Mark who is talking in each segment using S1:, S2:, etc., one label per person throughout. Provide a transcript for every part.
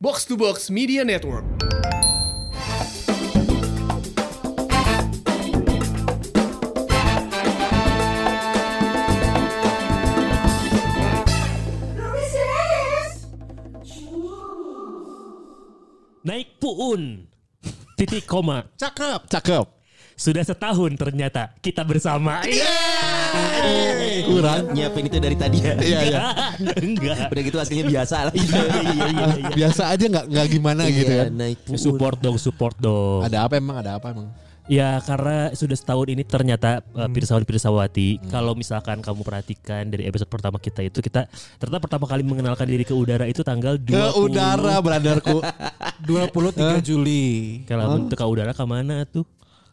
S1: Box to Box Media Network.
S2: Naik puun. Titik koma.
S1: Cakep.
S3: Cakep.
S2: Sudah setahun ternyata kita bersama.
S3: Iya.
S4: kurang Eh, nyiapin itu dari tadi ya
S3: Iya iya.
S2: Enggak.
S4: udah gitu aslinya biasa lah
S3: Biasa aja nggak nggak gimana gitu
S4: Iya,
S3: kan.
S4: naik puun.
S2: Support dong, support dong.
S3: Ada apa emang? Ada apa emang?
S2: Ya karena sudah setahun ini ternyata
S3: Hmm.
S2: uh, Pirsawan Pirsawati kalau misalkan kamu perhatikan dari episode pertama kita itu kita ternyata pertama kali mengenalkan diri ke udara itu tanggal 20
S3: Ke udara branderku.
S5: 23 Juli.
S2: Kalau bentuk ke udara ke mana tuh?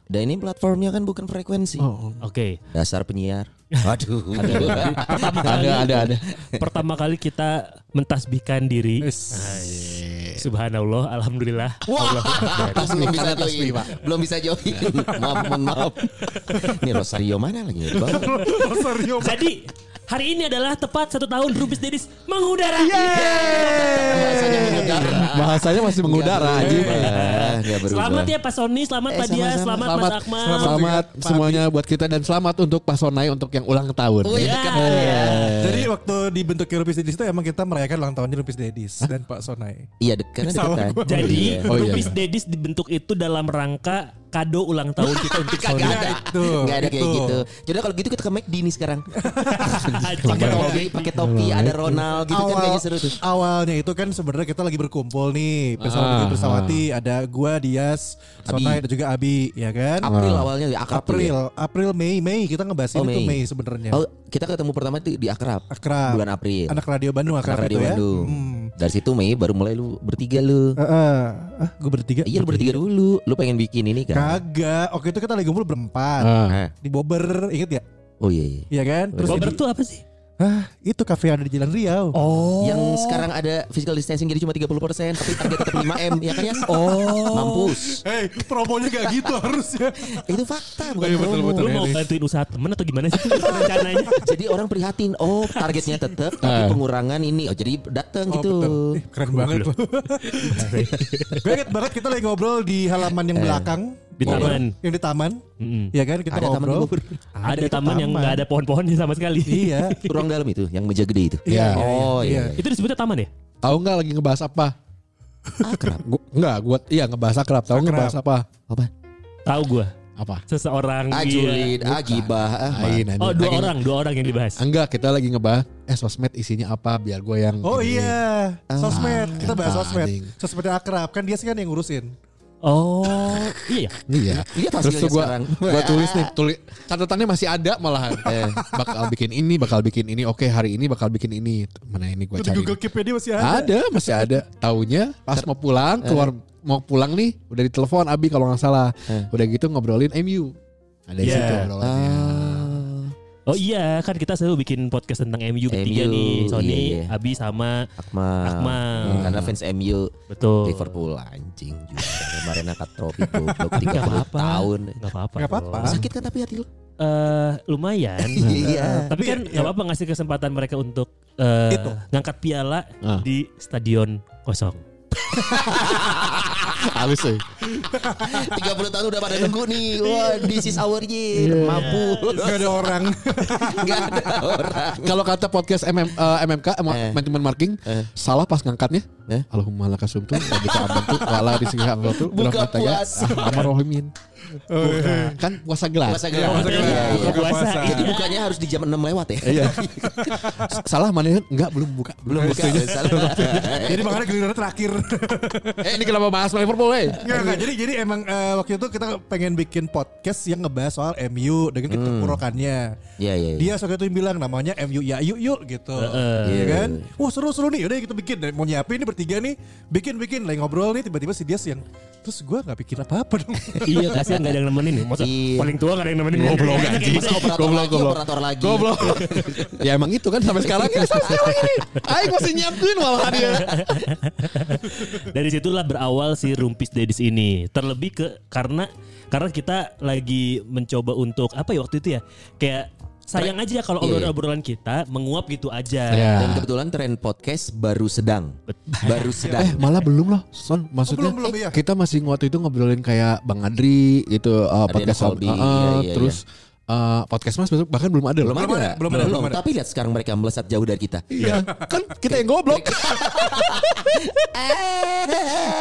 S4: dan ini platformnya kan bukan frekuensi
S2: Oke.
S4: dasar penyiar aduh
S2: Pertama
S3: ada
S2: kali-
S3: ada ada.
S2: Pertama kali kita mentasbihkan diri. Hai. Subhanallah, alhamdulillah. Allah.
S4: belum bisa
S3: karena tasbih,
S4: join
S3: Pak.
S4: belum bisa join maaf mohon maaf ini Rosario mana lagi ya di bawah
S2: Jadi hari ini adalah tepat satu tahun Rubis Dedis mengudara.
S4: bahasanya mengudara Iya,
S3: Bahasanya masih mengudara aja.
S4: Ah, nggak berubah
S2: Selamat ya Pak Soni, selamat
S4: Eh,
S2: Pak Dia,
S4: sama-sama.
S2: selamat,
S3: Selamat,
S2: Mas Akmal.
S3: selamat, semuanya buat kita dan selamat untuk Pak Sonai untuk yang ulang tahun.
S4: Iya, Oh,
S2: Ya.
S4: kan
S5: Jadi waktu dibentuk Rupis Dedis itu emang kita merayakan ulang tahunnya Rupis Dedis dan Pak Sonai.
S4: iya dek- karena
S5: Salah
S4: deketan
S5: gua.
S2: Jadi
S4: Iya.
S3: Oh, iya.
S2: Rubis Dedis dibentuk itu dalam rangka kado ulang tahun kita untuk Sony.
S4: Kagak ada.
S5: Itu,
S4: Nggak ada kayak
S5: itu.
S4: gitu. Jadi kalau gitu kita ke McD nih sekarang. pakai
S2: Pakai
S4: topi, pakai topi, ada Ronald gitu kan
S5: Awal,
S4: kayaknya seru tuh.
S5: awalnya itu kan sebenarnya kita lagi berkumpul nih Pesawat
S3: Ah,
S5: Bikin Bersawati Ada gua, Dias, Sonai dan juga Abi ya kan
S4: April
S3: Ah.
S4: awalnya di akrab. tuh ya.
S5: April, April, Mei, Mei kita ngebahas
S4: Oh,
S5: ini tuh
S4: Mei.
S5: Mei sebenarnya.
S4: Oh, kita ketemu pertama tuh di akrab.
S5: Akrab.
S4: Bulan April.
S5: Anak radio Bandung
S4: Anak
S5: akrab
S4: Radio
S5: itu ya.
S4: Bandung.
S5: Hmm.
S4: Dari situ Mei baru mulai lu bertiga lu.
S5: Eh, eh. Ah, gua bertiga.
S4: Iya lu bertiga dulu. Lu pengen bikin ini kan?
S5: Kagak. Oke itu kita lagi kumpul berempat.
S3: Ah.
S4: Hah?
S5: Di Bobber, inget ya?
S4: Oh iya. iya.
S5: Iya kan? Terus
S2: Bobber
S5: jadi-
S2: tuh apa sih?
S5: Hah, itu kafe yang ada di Jalan Riau.
S2: Oh.
S4: Yang sekarang ada physical distancing jadi cuma 30% tapi target tetap 5M ya kan ya?
S2: Oh.
S4: Mampus.
S5: Hei, promonya gak gitu harusnya.
S4: Itu fakta bukan
S5: Iya, betul,
S4: promo.
S5: betul.
S2: Lu mau bantuin usaha temen atau gimana sih rencananya?
S4: Jadi orang prihatin, oh targetnya tetap tapi pengurangan ini. Oh jadi datang gitu.
S5: Eh, keren banget. Gue inget banget kita lagi ngobrol di halaman
S4: Eh,
S5: yang belakang.
S2: Di
S5: Ngobrol.
S2: taman.
S5: Yang di taman.
S2: Mm-mm.
S5: Iya kan kita
S4: Ada taman
S5: ngobrol.
S4: di Bogor.
S2: Ada
S5: itu
S2: taman yang nggak ada pohon-pohonnya sama sekali.
S5: Iya.
S4: Ruang dalam itu yang meja gede itu.
S3: Iya.
S4: Oh
S5: iya.
S4: iya.
S2: Itu disebutnya taman ya?
S3: Tahu nggak lagi ngebahas apa? Akrab. Gua, nggak, gua iya ngebahas akrab. Tahu
S5: Akrab.
S3: ngebahas apa?
S4: Apa?
S2: Tahu gua.
S3: Apa?
S2: Seseorang dia.
S4: Ajulid, agibah, ah,
S3: Lain
S2: Oh, dua
S3: Lagi-
S2: orang, dua orang yang dibahas.
S3: Enggak, kita lagi ngebahas eh sosmed isinya apa biar gue yang
S5: Oh
S3: ini.
S5: iya,
S4: Ah,
S5: sosmed. Kita bahas
S3: Ah,
S5: sosmed.
S3: anjing.
S5: Sosmednya akrab kan dia sih kan yang ngurusin.
S2: Oh, iya. ya?
S3: Iya.
S4: Iya, pas
S3: Terus
S4: lihat
S3: tuh gue
S4: sekarang.
S3: gua tulis nih, tulis catatannya masih ada malahan. Eh, bakal bikin ini, bakal bikin ini. Oke, hari ini bakal bikin ini. Mana ini gue
S5: Itu di
S3: cari.
S5: Google Keep dia masih
S4: kan?
S5: ada.
S3: Ada, masih ada. Taunya pas mau pulang,
S4: Eh.
S3: keluar mau pulang nih, udah ditelepon Abi kalau nggak salah.
S4: Eh.
S3: Udah gitu ngobrolin MU. Ada di
S2: Iya.
S3: situ obrolannya.
S4: Ah.
S2: Oh iya, kan kita selalu bikin podcast tentang MU
S4: MU,
S2: bertiga nih. Sony,
S4: iya, iya.
S2: Abi sama
S4: Akmal.
S2: Akmal. Oh.
S4: Hmm, Karena fans MU
S2: betul.
S4: Liverpool anjing juga kemarin angkat trofi goblok 30
S2: Gak apa-apa.
S4: tahun.
S2: Gak apa-apa.
S5: Nggak apa-apa.
S2: dong.
S4: Sakit kan tapi hati lu.
S2: Eh, lumayan.
S4: Iya.
S2: Tapi kan nggak apa-apa ngasih kesempatan mereka untuk eh,
S5: Itu.
S2: ngangkat piala
S3: Ah.
S2: di stadion kosong.
S3: Habis tuh.
S4: 30 tahun udah pada nunggu nih. Wah, this is our year. Mampus.
S5: Gak ada orang.
S4: Enggak ada orang.
S3: Kalau kata podcast MM, eh, MMK Ma-
S4: Eh.
S3: Management Marking salah pas ngangkatnya.
S4: Eh.
S3: Allahumma laka sumtu wa bika amantu wala rizqi hamdatu
S4: Buka
S3: rahmataya
S4: puasa.
S3: amarrohimin.
S5: Oh, iya.
S3: Kan puasa gelas.
S4: Puasa gelap.
S2: Puasa
S5: kan
S2: gelap.
S4: Iya, iya.
S2: Buka puasa.
S4: Jadi bukannya harus di jam 6 lewat ya?
S3: Iya. salah mana enggak belum buka.
S4: Belum buka. Salah.
S5: Jadi makanya giliran terakhir.
S3: eh ini kenapa bahas Liverpool, eh?
S5: Nggak, nggak. Jadi jadi emang eh, waktu itu kita pengen bikin podcast yang ngebahas soal MU dengan keterpurukannya.
S4: Iya, Hmm. iya. iya.
S5: Dia waktu itu yang bilang namanya MU ya yuk yuk gitu. Iya
S4: Iya.
S5: kan? Wah seru-seru nih. Udah kita bikin. Dan Mau nyiapin ini bertiga nih. Bikin-bikin. Lagi ngobrol nih tiba-tiba si dia yang terus gue nggak pikir apa-apa dong.
S2: iya, kasihan nggak ada yang nemenin. Masa
S4: Iya.
S2: paling tua nggak ada yang nemenin. Goblok anjing.
S4: Masa operator
S3: Goblok,
S4: lagi,
S3: goblok.
S4: operator lagi.
S3: Goblok. ya emang itu kan sampai sekarang ya sampai sekarang ini. Aing masih nyiapin malah dia.
S2: Dari situlah berawal si Rumpis Dedis ini. Terlebih ke karena karena kita lagi mencoba untuk apa ya waktu itu ya? Kayak sayang aja ya kalau
S4: Iya.
S2: obrolan-obrolan kita menguap gitu aja.
S3: Iya.
S4: Dan kebetulan tren podcast baru sedang. Baru
S3: Eh
S4: sedang.
S3: malah belum loh Son Maksudnya
S5: belum, belum, iya.
S3: Kita masih waktu itu ngobrolin kayak Bang Andri gitu uh, Podcast
S4: Colby,
S3: uh, uh,
S4: iya, iya,
S3: Terus uh, podcast mas besok bahkan belum ada loh
S5: Belum ada, belum ada, belum ada.
S4: Tapi lihat sekarang mereka melesat jauh dari kita.
S3: Iya Kan kita yang goblok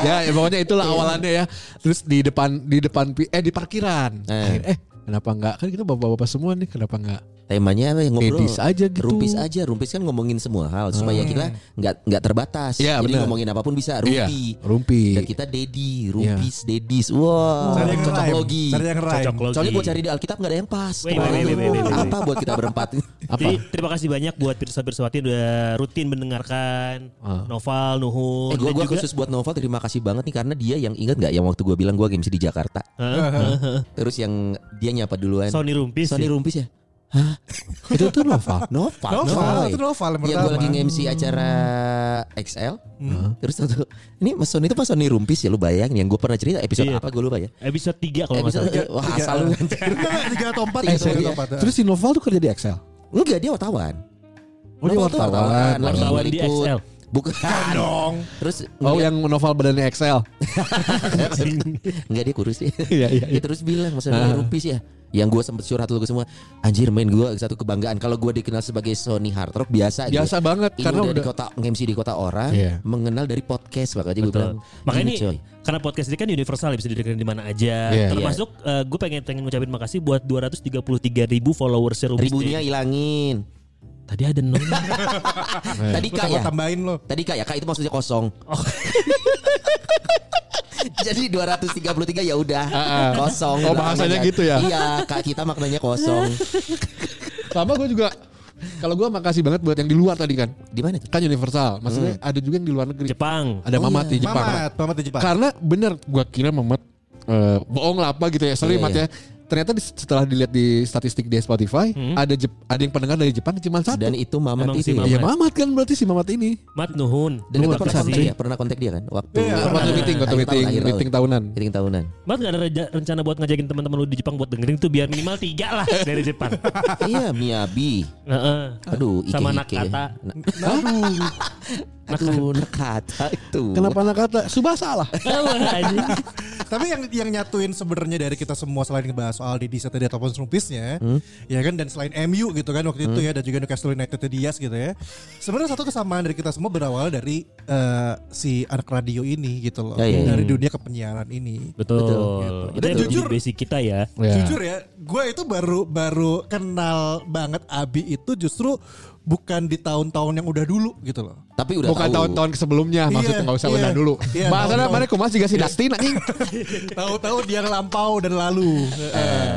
S3: Ya ya, pokoknya itulah awalannya ya Terus di depan di depan pi- Eh di parkiran Eh, eh kenapa enggak Kan kita bapak-bapak semua nih Kenapa enggak
S4: Temanya apa ya, ngobrol.
S3: Medis aja gitu.
S4: Rumpis aja. Rumpis kan ngomongin semua hal supaya kita nggak nggak terbatas. Jadi
S3: Iya, benar.
S4: ngomongin apapun bisa.
S3: Iya,
S4: Rumpi.
S3: rumpi.
S4: Dan kita dedi, rumpis, dedis. Wah,
S5: Cari yang
S4: cocok
S5: rhyme.
S4: logi.
S5: Cari yang rhyme.
S2: Cocok logi.
S4: Soalnya gue cari di Alkitab nggak ada yang pas.
S2: Wait, wait, wait, wait, wait, wait, wait.
S4: Apa buat kita berempat? Eh,
S2: Jadi terima kasih banyak buat pirsa-pirsawati yang udah rutin mendengarkan Noval,
S4: Ah. Eh,
S2: Nuhun,
S4: gue
S2: dan
S4: gua
S2: juga
S4: khusus buat Novel terima kasih banget nih karena dia yang ingat nggak yang waktu gue bilang gue games di Jakarta. Terus yang dia nyapa duluan.
S2: eh, Sony Rumpis.
S4: Sony Rumpis ya.
S3: Itu tuh Nova
S4: Noval.
S5: Noval, itu Noval yang
S4: Iya gue
S5: pertama.
S4: lagi nge-MC acara XL.
S3: Hmm.
S4: Terus satu ini Mas Sony itu Mas Sony Rumpis ya lu bayangin yang gue pernah cerita episode
S2: Iya.
S4: apa gue lupa ya.
S2: Episode 3 kalau nggak
S4: Episode
S2: salah.
S4: wah asal lu anjir.
S5: Tiga atau empat
S4: Eh,
S5: gitu.
S4: sorry,
S5: tiga
S4: ya.
S5: atau empat.
S3: Terus si Noval tuh kerja di Excel
S4: Enggak dia wartawan.
S3: Oh, dia
S4: Novel tuh
S3: wartawan.
S4: lagi
S2: Wartawan di
S4: meliput.
S2: XL.
S4: Bukan dong. Terus
S3: Ah, Oh yang Noval badannya Excel
S4: Enggak dia kurus ya.
S3: Iya, iya,
S4: Dia terus bilang maksudnya
S3: Ah.
S4: rupis ya. Yang gue sempet curhat lu ke semua Anjir main gue satu kebanggaan Kalau gue dikenal sebagai Sony Hard Rock Biasa gua.
S3: Biasa banget,
S4: Ini
S3: karena
S4: udah, di
S3: udah-
S4: kota MC di kota orang
S3: Iya.
S4: Mengenal dari podcast Makanya gue bilang
S2: Betul. Makanya
S4: "Gini,
S2: ini karena podcast ini kan universal ya, bisa didengerin di mana aja.
S3: Iya.
S2: Termasuk gue pengen pengen ngucapin makasih buat 233 ribu followers Rumpis.
S4: Ribunya hilangin
S2: Tadi ada nol.
S4: Tadi
S5: Gua
S4: kak
S5: tambah
S4: ya
S5: tambahin lo.
S4: Tadi kak ya kak itu maksudnya kosong
S3: Oh.
S4: Jadi 233 ya udah kosong.
S3: Ah, Oh, bahasanya
S4: Maknanya-
S3: gitu ya?
S4: Iya, kak kita maknanya kosong.
S3: Sama gue juga Kalau gue makasih banget buat yang di luar tadi kan
S4: Di mana tuh?
S3: Kan universal Maksudnya ada juga yang di luar negeri
S2: Jepang.
S3: Ada Mamat di Jepang
S5: Mamat, Mamat di Jepang.
S4: Kan-
S3: Karena bener gua kira Mamat eh, bohong lah apa gitu ya.
S4: Iya,
S3: Sorry Mat
S4: iya.
S3: ya. Ternyata di- setelah dilihat di statistik di Spotify
S5: Hmm.
S3: ada Jep- ada yang pendengar dari Jepang cuma satu.
S4: Dan itu Mamat
S2: Emang
S4: itu
S2: si
S4: ya.
S2: Mamat.
S3: ya Mamat kan berarti si Mamat ini.
S2: Mat Nuhun.
S4: Dan
S3: Lu
S4: lu pernah
S3: nggak pernah
S4: kontak
S3: sih.
S4: dia, pernah kontak dia kan waktu
S5: Iya,
S4: akhir
S5: waktu
S4: tahun,
S3: meeting, waktu
S4: akhir
S3: meeting,
S4: tahun, akhir tahun.
S3: meeting tahunan.
S4: Meeting tahunan.
S2: Mat gak ada reja- rencana buat ngajakin teman-teman lu di Jepang buat dengerin tuh biar minimal tiga lah dari Jepang.
S4: iya, Miyabi.
S2: Heeh.
S4: Aduh, Ike
S2: Sama
S4: Ike.
S2: Nakata.
S4: Na-
S5: Nah,
S4: Aduh, Nakata itu.
S5: Iya.
S3: Kenapa anak kata Subasa lah.
S2: Wah, anjing.
S5: Tapi yang yang nyatuin sebenarnya dari kita semua selain ngebahas soal di Disa tadi ataupun serumpisnya,
S4: Hmm?
S5: ya kan dan selain MU gitu kan waktu itu ya dan juga Newcastle United Diaz gitu ya. Sebenarnya satu kesamaan dari kita semua berawal dari eh, si anak radio ini gitu loh,
S4: Ya, ya, ya.
S5: dari dunia kepenyiaran ini.
S2: Betul.
S5: gitu.
S2: Itu
S5: Dan
S2: yang
S5: jujur-
S2: jadi basic kita ya.
S5: Jujur ya, gue itu baru baru kenal banget Abi itu justru bukan di tahun-tahun yang udah dulu gitu loh.
S4: Tapi udah
S3: Bukan
S4: tahu.
S3: tahun-tahun sebelumnya maksudnya
S5: Iya,
S3: nggak usah
S5: iya.
S3: udah dulu.
S5: Iya,
S3: Bahasanya
S5: tahun-tahun. Iya.
S3: kemarin kumas juga si Dustin anjing.
S5: Tahu-tahu dia lampau dan lalu. Heeh.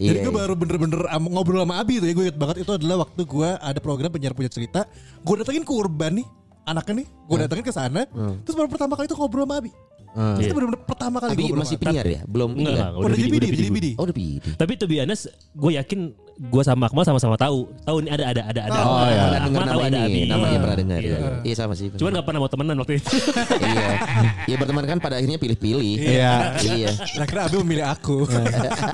S4: iya,
S5: Jadi gue
S4: iya.
S5: baru bener-bener am- ngobrol sama Abi tuh ya gue inget banget itu adalah waktu gue ada program penyiar punya cerita. Gue datengin ke Urban nih anaknya nih. Gue datengin ke sana. Terus baru pertama kali itu ngobrol sama Abi. Terus itu bener-bener pertama kali
S4: iya. Abi
S5: ngobrol
S4: masih
S5: sama Abi.
S4: penyiar ya? Belum
S2: Enggak,
S4: ini
S2: enggak,
S4: kan?
S2: udah
S5: Udah jadi
S2: bidi,
S5: bidi,
S2: udah
S5: jadi
S2: bidi.
S5: bidi.
S4: Oh, udah PD.
S2: Tapi to be honest, gue yakin gue sama Akmal sama-sama tahu. Tahu ini ada ada ada ada.
S5: Oh,
S2: Akmal
S4: iya. Pernah dengar
S2: Akmal tahu
S4: nama
S2: ada
S4: ini.
S2: Abi.
S4: Namanya
S2: Iya.
S4: pernah dengar.
S2: Iya.
S4: Iya, Iya, sama sih.
S2: Cuman gak pernah mau temenan waktu itu.
S4: iya. Iya berteman kan pada akhirnya pilih-pilih.
S3: Iya.
S4: Iya.
S5: Akhirnya Nah, Abi memilih aku.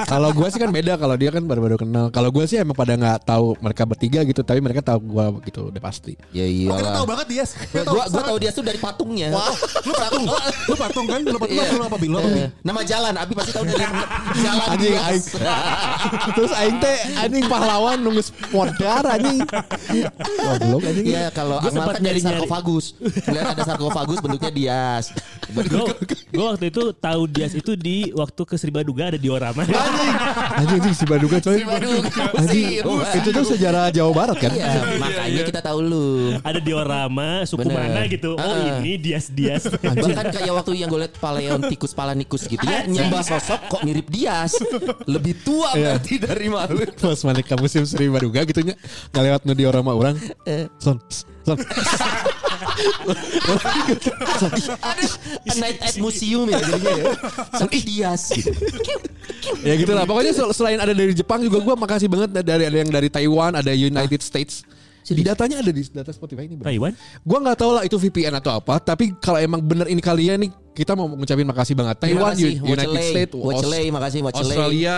S3: kalau gue sih kan beda kalau dia kan baru-baru kenal. Kalau gue sih emang pada nggak tahu mereka bertiga gitu tapi mereka tahu gue gitu udah pasti.
S4: Ya
S5: Oh, kita
S4: iyalah.
S5: tahu banget dia.
S4: Gua gua tahu dia tuh dari patungnya.
S5: Lu patung, lu patung kan? Lu patung lu apa Bi? Lu apa Bi?
S4: Eh, Nama jalan, Abi pasti tahu dari jalan.
S3: Anjing,
S4: Dias.
S3: aing. Terus aing teh anjing pahlawan nunggu spodar anjing. Wah, belum anjing.
S4: Iya kalau
S2: Gua
S4: Akmal
S2: sempat
S4: kan dari
S2: nyari-nyari.
S4: sarkofagus. Lihat ada sarkofagus bentuknya dias.
S2: Gue waktu itu tahu Dias itu di waktu ke Sribaduga ada diorama.
S3: Anjing anjing si Baduga coy.
S4: Si Baduga,
S3: Anjing.
S4: si
S3: Oh, itu tuh sejarah Jawa Barat kan?
S4: Iya, makanya kita tahu lu.
S2: ada diorama suku
S4: Bener.
S2: mana gitu. Oh
S4: Ah.
S2: ini Dias Dias.
S4: Bahkan kayak waktu yang gue liat Paleontikus Palanikus gitu ya Nyembah sosok kok mirip Dias Lebih tua
S3: Iya.
S4: berarti dari malu
S3: Pas balik ke musim Sri Baduga gitu nya ngelewat nu diorama orang.
S4: Eh.
S3: Son. pss, Son.
S4: Ada a night at museum ya jadinya ya Tapi Dias gitu
S3: Ya gitu lah. Pokoknya sel- selain ada dari Jepang juga gua makasih banget dari ada yang dari Taiwan, ada United States. Di datanya ada di data Spotify ini. bro.
S2: Taiwan?
S3: Gua nggak tahu lah itu VPN atau apa, tapi kalau emang bener ini kalian nih kita mau ngucapin makasih banget
S4: Terima
S3: Taiwan,
S4: kasih,
S3: United
S4: Wachelay.
S3: States,
S4: Wachelay, makasih Wachelay.
S3: Australia,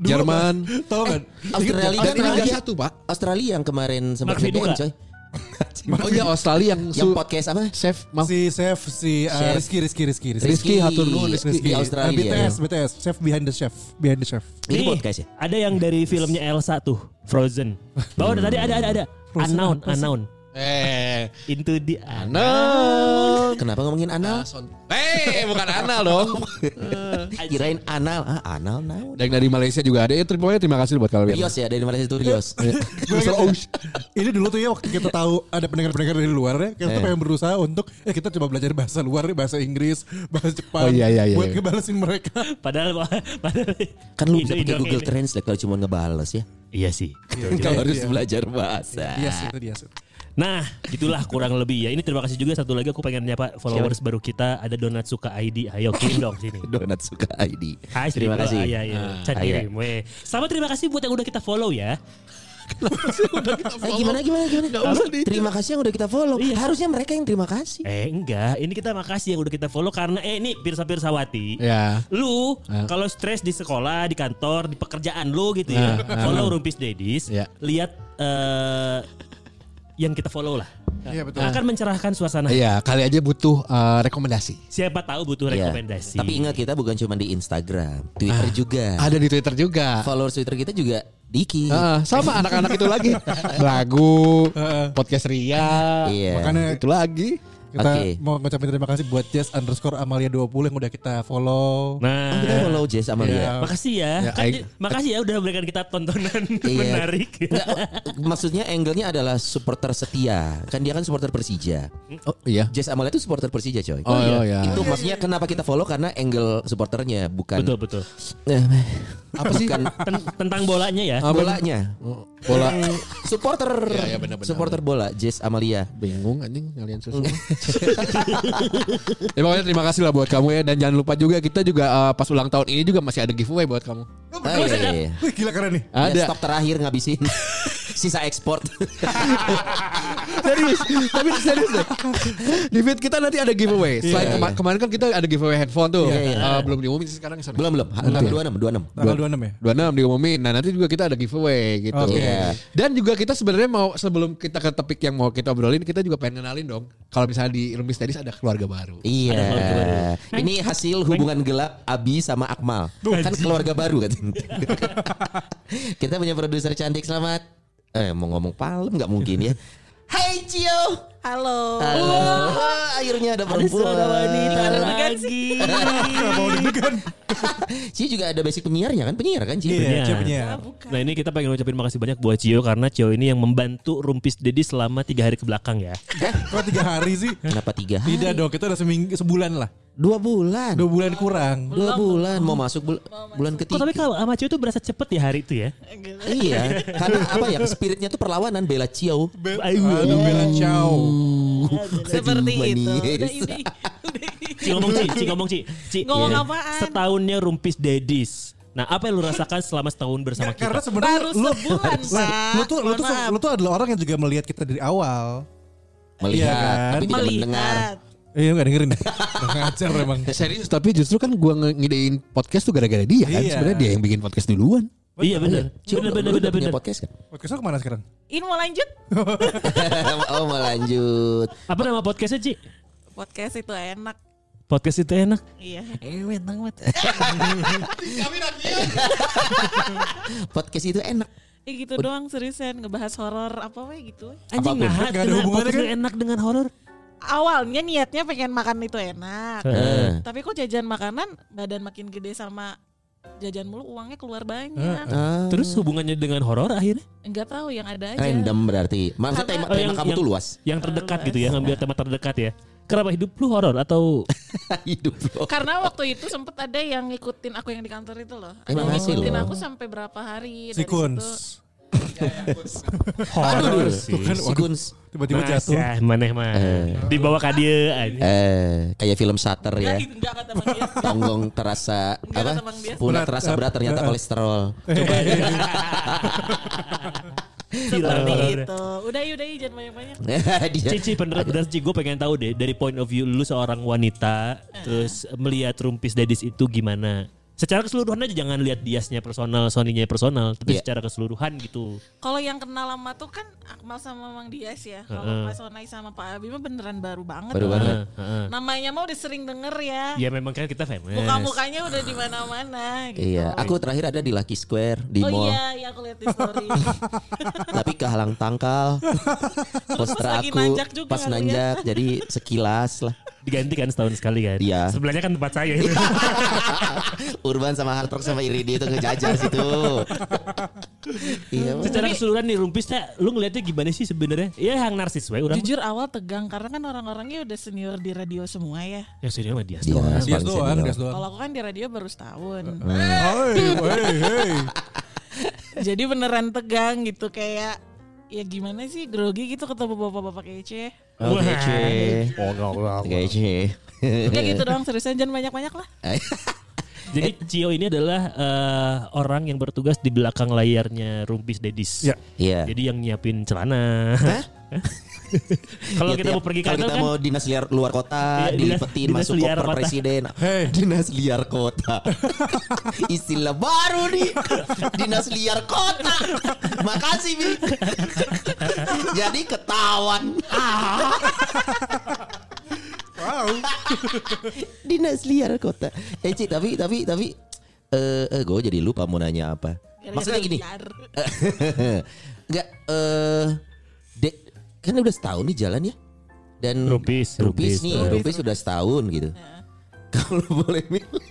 S3: Jerman.
S5: Tahu kan?
S4: Australia
S3: Dan ini
S4: Australia.
S3: nggak satu pak.
S4: Australia yang kemarin sempat
S2: Mark Viduka.
S4: nge-ban, coy.
S3: Oh iya Australia yang,
S4: Yang
S3: su-
S4: podcast apa?
S3: Chef maaf.
S5: Si Chef, si uh,
S4: Chef.
S5: Rizky, Rizky, Rizky,
S3: Rizky Hatur Nuhun,
S4: Di-
S3: Rizky.
S4: di
S5: Eh,
S4: Australia.
S5: BTS, BTS, Chef Behind the Chef, Behind the Chef.
S4: Ini
S2: Nih,
S4: podcast ya?
S2: Ada yang dari filmnya Elsa tuh, Frozen. Bahwa tadi ada ada ada unknown, unknown.
S3: Eh,
S2: Into the unknown.
S3: anal.
S4: Kenapa ngomongin
S2: Ah,
S4: anal?
S3: Eh, bukan anal dong.
S4: Kirain anal, ah anal naon?
S3: Dan dari Malaysia juga ada. Ya, terima kasih, terima kasih buat kalian.
S4: Rios ya dari Malaysia itu Rios.
S3: Mr. Oush.
S5: Oh, Ini dulu tuh ya waktu kita tahu ada pendengar-pendengar dari luar ya, kita tuh pengen berusaha untuk eh kita coba belajar bahasa luar nih, bahasa Inggris, bahasa Jepang,
S3: Oh, iya, iya, iya,
S5: buat
S3: iya.
S5: ngebalesin mereka.
S2: Padahal padahal
S4: Kan lu bisa pakai
S2: Indo-Indo
S4: Google
S2: ini.
S4: Translate kalau cuma ngebales ya.
S2: Iya sih.
S4: Kalau harus belajar bahasa.
S3: Ah.
S5: Iya sih, itu dia sih.
S2: Nah, gitulah kurang lebih ya. Ini terima kasih juga satu lagi aku pengen nyapa followers baru kita ada Donat Suka ID. Ayo kirim dong sini.
S4: Donat suka ID.
S2: Hai,
S4: Terima kasih. Ah,
S2: Iya, iya. Can
S4: Ayo.
S2: kirim, weh. Sama terima kasih buat yang udah kita follow ya.
S4: Eh, gimana gimana gimana?
S2: usah
S4: terima kasih yang udah kita follow. Harusnya mereka yang terima kasih.
S2: Eh enggak, ini kita makasih yang udah kita follow karena eh ini Pirsa Pirsawati.
S4: Iya.
S3: Ya.
S2: Lu
S4: Ah.
S3: Ya.
S2: kalau stres di sekolah, di kantor, di pekerjaan lu gitu
S4: Ah,
S2: ya,
S3: Ya, ya.
S2: follow Rumpis Dedis,
S4: Iya.
S3: Ya.
S2: lihat eh, yang kita follow lah.
S5: Iya betul.
S2: Akan mencerahkan suasana.
S3: Iya, kali aja butuh eh, rekomendasi.
S2: Siapa tahu butuh
S4: Iya.
S2: rekomendasi.
S4: Tapi ingat kita bukan cuma di Instagram, Twitter juga.
S3: Ada di Twitter juga.
S4: Followers Twitter kita juga dikit.
S3: Ah, sama anak-anak itu lagi. Lagu, podcast Ria.
S4: Iya.
S5: Makanya
S3: Itu lagi.
S5: kita
S4: Oke.
S5: mau ngucapin terima kasih buat Jess underscore Amalia 20 yang udah kita follow.
S2: Nah,
S4: Oh, kita follow Jess sama
S5: Iya.
S4: dia.
S2: makasih ya.
S3: Ya,
S2: Kan
S3: I-
S2: di- makasih ya udah berikan kita tontonan
S4: Iya.
S2: menarik.
S4: Nggak, oh, maksudnya angle-nya adalah supporter setia. Kan dia kan supporter Persija.
S3: Oh iya.
S4: Jess Amalia itu supporter Persija, coy.
S3: Oh, iya. iya.
S4: Itu maksudnya kenapa kita follow karena angle supporternya bukan
S2: betul betul.
S4: apa sih? Bukan
S2: Ten- tentang bolanya ya.
S4: bolanya.
S3: Bola.
S4: Eh, supporter.
S3: Iya, iya, benar-benar.
S4: supporter bola Jess Amalia.
S3: Bingung anjing kalian susu. ya pokoknya terima kasih lah buat kamu ya dan jangan lupa juga kita juga eh, pas ulang tahun ini juga masih ada giveaway buat kamu.
S4: Ah, iya, iya, iya.
S5: Wih, gila keren nih.
S4: Ada.
S3: Ada.
S4: stok terakhir ngabisin sisa ekspor.
S3: serius, tapi serius deh. Di feed kita nanti ada giveaway. Selain
S4: Iya,
S3: kema-
S4: iya.
S3: kemarin kan kita ada giveaway headphone tuh.
S4: Iya, iya.
S3: Eh, belum diumumin sih sekarang sorry.
S4: belum belum. Ha-
S3: Belum.
S4: 26 26.
S5: Tanggal 26 ya.
S3: 26 diumumin. Nah, nanti juga kita ada giveaway gitu.
S5: Oke.
S4: Iya.
S3: Dan juga kita sebenarnya mau sebelum kita ke topik yang mau kita obrolin, kita juga pengen kenalin dong. Kalau misalnya di Rumis Tedis ada keluarga baru.
S4: Iya.
S2: Ada keluarga baru.
S4: Ini hasil hubungan gelap Abi sama Akmal. Kan keluarga baru kan. Kita punya produser cantik selamat. Eh mau ngomong palem nggak mungkin ya. Hai Cio.
S6: Halo.
S4: Halo. Akhirnya ada
S2: Ada
S4: perempuan.
S2: suara wanita
S6: Deg-degan
S2: lagi.
S4: Cio juga ada basic penyiarnya kan? Penyiar kan Cio?
S5: Iya,
S2: Iya.
S5: Cio penyiar.
S6: Ah, bukan.
S2: Nah ini kita pengen ucapin makasih banyak buat Cio karena Cio ini yang membantu Rumpis Dedi selama tiga hari kebelakang ya.
S5: Kok tiga hari sih?
S4: Kenapa tiga hari?
S5: Tidak dong, kita udah seminggu sebulan lah.
S4: Dua bulan.
S5: Dua bulan kurang.
S4: Dua bulan mau masuk bul- bulan
S2: Kok
S4: ketiga.
S2: Oh, tapi kalau sama Cio tuh berasa cepet ya hari itu ya.
S4: Iya, karena apa ya spiritnya tuh perlawanan bela Cio.
S5: Be-
S2: Ayo.
S5: Aduh, Bella Ciao.
S6: Seperti
S4: Aduh,
S5: iya.
S6: itu.
S4: manis.
S6: Udah ini. Udah
S2: Ci
S6: ini.
S2: ngomong Ci, Ci ngomong Ci. Ci,
S6: Ngomong
S2: iya.
S6: apaan?
S2: Setahunnya Rumpis Dedis. Nah apa yang lu rasakan selama setahun bersama
S5: Karena
S2: kita?
S5: sebenarnya
S6: Baru
S5: lu,
S6: sebulan,
S5: Lan,
S6: Pak.
S5: lu tuh lu
S6: Mohon
S5: tuh
S6: maaf.
S5: lu tuh adalah orang yang juga melihat kita dari awal.
S4: Melihat,
S5: Iya kan?
S4: tapi tidak mendengar.
S6: Melihat.
S5: Iya nggak dengerin Nggak Ngajar emang
S3: Serius, tapi justru kan gua nge- ngidein podcast tuh gara-gara dia kan.
S5: Iya.
S3: Sebenarnya dia yang bikin podcast duluan.
S2: Iya bener.
S4: Cio,
S2: Bener
S4: lu-
S2: bener
S4: lu
S2: bener
S4: udah punya
S2: bener.
S4: podcast kan?
S5: Podcast lu kemana sekarang?
S6: Ini mau lanjut
S4: oh mau lanjut.
S2: Apa nama podcastnya Ci?
S6: podcast itu enak.
S2: Podcast itu enak.
S6: Iya.
S4: Podcast itu enak.
S6: Ya gitu doang seriusan ngebahas horor apa we gitu. we.
S4: Apapun.
S2: Anjing nah,
S5: Nggak ada
S2: kenapa
S5: hubungannya
S2: podcast
S5: kan?
S2: itu enak dengan horor.
S6: Awalnya niatnya pengen makan itu enak.
S2: Eh.
S4: Heeh.
S6: Tapi kok jajan makanan badan makin gede sama jajan mulu uangnya keluar banyak.
S5: Heeh. Eh,
S2: Terus hubungannya dengan horor akhirnya?
S6: Enggak tahu yang ada aja.
S4: Random berarti. Maksudnya tema,
S2: Oh,
S4: tema
S2: yang-
S4: kamu
S2: yang-
S4: tuh luas.
S2: Yang terdekat gitu ya, ngambil tema terdekat ya. Kenapa hidup lu horor atau
S4: Ah, Hidup lo.
S6: Karena waktu itu sempet ada yang ngikutin aku yang di kantor itu loh. Ada yang
S4: Emang masih
S6: ngikutin
S4: loh.
S6: aku sampai berapa hari Iya, dari
S5: Si Kuns.
S6: situ.
S2: horor sih?
S5: Tuh kan, waduh,
S4: Sikuns.
S5: Tiba-tiba jatuh.
S2: Masih, ya, maneh mah.
S6: Eh.
S2: Dibawa ka dieu anjing.
S4: Eh, kayak film
S5: Oh, iya.
S4: Shutter ya.
S6: Enggak gitu, enggak kata Bang Dias.
S4: Tonggong terasa
S6: Enggak,
S4: apa?
S6: kata Bang Dias.
S4: Punah
S5: Berat,
S4: terasa
S5: eh,
S4: berat ternyata
S5: eh, eh.
S4: kolesterol.
S6: Seperti
S4: iya,
S6: itu. Ya. Udah yuk, udah yuk, jangan banyak-banyak.
S5: eh.
S4: Dia-
S2: Cici beneran beneran Cici gue pengen tahu deh dari point of view lu seorang wanita terus melihat rumpis dadis itu gimana? Secara keseluruhan aja jangan lihat diasnya personal, soninya personal, tapi
S4: Iya.
S6: Ya.
S2: secara keseluruhan gitu.
S6: Kalau yang kenal lama tuh kan Akmal sama Mang Dias ya. Kalau Pak Sonai sama Pak Abi mah beneran baru banget.
S4: Baru
S6: loh.
S4: banget.
S2: Heeh, heeh.
S6: Namanya mah udah sering denger ya.
S2: Ya memang kan kita famous.
S6: Muka-mukanya udah di mana-mana gitu.
S4: Iya, aku terakhir ada di Lucky Square di
S6: oh
S4: mall,
S6: iya, iya aku lihat di story.
S4: tapi kehalang tangkal. Poster
S6: lagi
S4: aku
S6: nanjak juga
S4: pas
S6: kan,
S4: nanjak, jadi sekilas lah.
S2: Diganti kan setahun sekali kan.
S6: Ya.
S4: Iya.
S2: Sebelahnya kan tempat saya itu.
S4: Urban sama Hard Rock sama Iridi itu ngejajar situ. iya,
S2: secara keseluruhan nih rumpisnya lu ngelihatnya gimana sih sebenarnya? Ya yang narsis we orang.
S6: Jujur awal tegang karena kan orang-orangnya udah senior di radio semua ya.
S2: Ya serius sama dia.
S4: Iya,
S5: Dia
S4: paling
S5: doang,
S4: senior.
S5: dia doang.
S6: Kalau aku kan di radio baru setahun.
S5: Hei, hei, hei.
S6: Jadi beneran tegang gitu kayak ya gimana sih grogi gitu ketemu bapak-bapak kece.
S4: Oke, Ce.
S2: Oh, enggak, enggak.
S4: Oke, Ce.
S6: Ya
S4: Iya.
S6: gitu doang seriusan jangan banyak-banyak lah.
S2: Jadi Cio ini adalah eh, orang yang bertugas di belakang layarnya Rumpis Dedis.
S5: Ya.
S4: Iya.
S2: Jadi yang nyiapin celana.
S4: Ya,
S2: Kalau kita
S4: tiap-
S2: mau pergi
S4: kalau
S2: kantor
S4: kita
S2: kan
S4: mau dinas liar luar kota,
S2: Iya, dinas-
S4: dilipetin
S2: dinas
S4: masuk
S2: liar
S4: koper
S2: kota.
S4: presiden. Dinas liar kota. Istilah baru nih. Dinas liar kota. Makasih, Bi. Jadi ketahuan. Ah. dinas liar kota. Eh, Ci, tapi tapi tapi eh gue jadi lupa mau nanya apa.
S6: Gara-gara
S4: Maksudnya gini,
S6: liar.
S4: Enggak eh de- kan udah setahun nih jalan ya. Dan
S2: Rupis,
S4: rupis,
S2: rupis,
S4: nih,
S2: rupis.
S4: rupis sudah setahun gitu. Kalau boleh milih,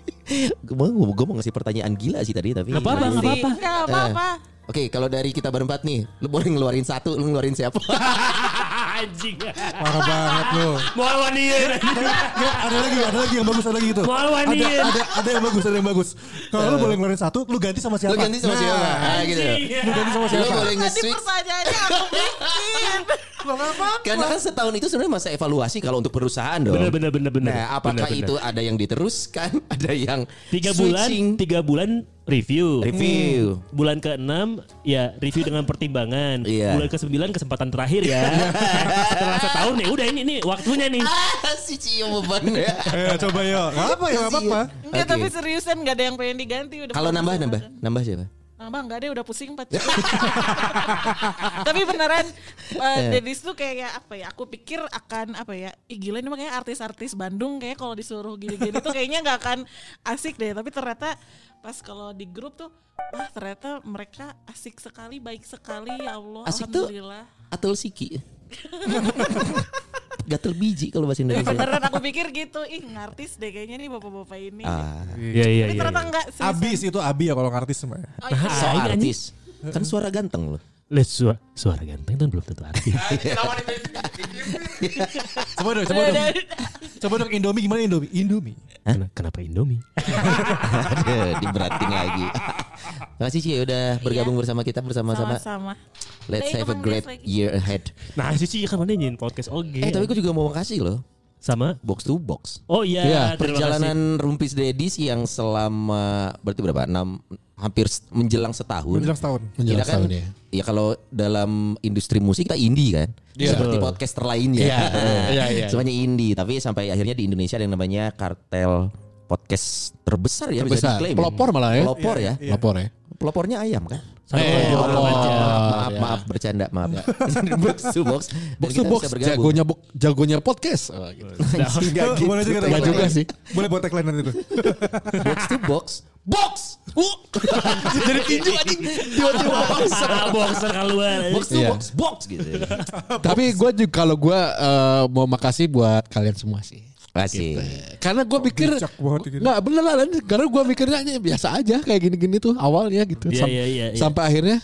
S4: gue mau, gua mau ngasih pertanyaan gila sih tadi tapi.
S2: Nggak apa-apa, nggak
S6: Di-
S2: apa-apa.
S6: nggak apa-apa.
S4: Oke, kalau dari kita berempat nih, lu boleh ngeluarin satu, lu ngeluarin siapa?
S2: "Ah, anjing.
S5: Parah banget lo.
S2: Mau lawan dia.
S5: Nggak, ada lagi, ada lagi yang bagus, ada lagi itu.
S2: Mau lawan
S5: Ada,
S2: dia.
S5: ada, ada yang bagus, ada yang bagus. Kalau lu boleh ngeluarin satu, lu ganti sama siapa?
S4: Lu ganti sama
S5: Nah,
S4: siapa? Ah, gitu.
S2: Anjing.
S5: Lu ganti sama
S4: Lu
S5: siapa?
S4: boleh
S6: Tadi
S4: nge-switch
S6: pertanyaannya aku bikin.
S4: karena kan setahun itu sebenarnya masa evaluasi kalau untuk perusahaan dong.
S2: Bener, bener, bener, bener.
S4: Nah, apakah
S2: Bener, bener.
S4: itu ada yang diteruskan, ada yang
S2: Tiga bulan,
S4: switching?
S2: tiga bulan review.
S4: review.
S2: Bulan ke-6 ya review dengan pertimbangan.
S4: Iya.
S2: Bulan ke-9 kesempatan terakhir ya. Setelah setahun nih udah ini nih waktunya nih.
S4: Ah, si Cio beban ya.
S5: Eh, coba yuk. Gak apa ya, gak apa-apa.
S6: Enggak
S4: Oke.
S6: tapi seriusan nggak ada yang pengen diganti udah.
S4: Kalau nambah nambah nambah siapa?
S6: Nambah nggak ada udah pusing empat. Tapi beneran
S4: Eh.
S6: uh, Dedis tuh kayak apa ya? Aku pikir akan apa ya? Ih gila ini makanya artis-artis Bandung kayak kalau disuruh gini-gini tuh kayaknya nggak akan asik deh. Tapi ternyata pas kalau di grup tuh wah ternyata mereka asik sekali, baik sekali ya Allah.
S4: Asik tuh-
S6: Alhamdulillah.
S4: Atul Siki. Gatel biji kalau bahasa Indonesia.
S6: Beneran aku pikir gitu, ih ngartis deh kayaknya nih bapak-bapak ini.
S4: Ah,
S2: Iya iya
S6: Tapi
S2: iya.
S6: ternyata enggak seriusan.
S5: Abis itu Abi ya kalau ngartis semuanya.
S6: Oh, iya.
S4: so artis. Kan suara ganteng loh.
S2: Lihat suara, suara ganteng kan belum tentu artis.
S5: Coba dong, coba dong. Coba dong Indomie gimana Indomie? Indomie.
S2: Ken- Kenapa Indomie?
S4: Aduh, diberatin lagi. Makasih Ci udah bergabung bersama kita bersama-sama.
S6: Iya. Sama-sama.
S4: Let's
S6: Dari
S4: have a
S6: Kemang
S4: great
S6: News lagi. Iya.
S4: year ahead.
S2: Nah, Cici kan mana nyanyiin podcast oge.
S4: Eh tapi gue juga mau makasih loh.
S2: sama
S4: Box to box.
S2: Oh iya,
S3: Iya,
S2: terima kasih.
S4: Perjalanan Rumpis Dedis yang selama berarti berapa? 6 hampir s- menjelang setahun.
S5: Menjelang setahun.
S4: kita
S3: Menjelang
S4: kan
S3: setahun, ya.
S4: ya kalau dalam industri musik kita indie kan
S3: Iya.
S4: seperti
S2: Betul.
S4: podcaster lainnya
S3: Iya, iya, iya.
S4: semuanya indie tapi sampai akhirnya di Indonesia ada yang namanya kartel podcast terbesar ya bisa
S3: Terbesar.
S4: diklaim
S3: Pelopor malah ya.
S4: pelopor
S5: Iya,
S4: ya
S3: Lapor ya.
S4: pelopornya ayam kan
S2: Sama
S3: Eh,
S2: Bang Jono
S3: pelopor.
S2: aja.
S4: maaf
S3: ya.
S4: maaf bercanda maaf box to box
S3: Box to box jagonya bo- jagonya podcast. Oh, gitu.
S4: Nah.
S5: Boleh juga
S3: Nggak
S5: tagline.
S3: juga sih.
S5: Boleh buat tagline nanti tuh.
S4: gitu. box to box box Uh. jadi tinju anjing tiba-tiba box
S2: Ah, boxer keluar.
S4: box to
S3: Iya.
S4: box box gitu
S3: Tapi gue juga kalau gue mau makasih buat kalian semua sih.
S4: Asik.
S3: Karena gue pikir
S5: bijak banget gitu.
S3: nggak bener lah, Lan. karena gue mikirnya ini biasa aja kayak gini-gini tuh awalnya gitu.
S2: Iya,
S3: Sam-
S2: iya, iya, iya.
S3: Sampai akhirnya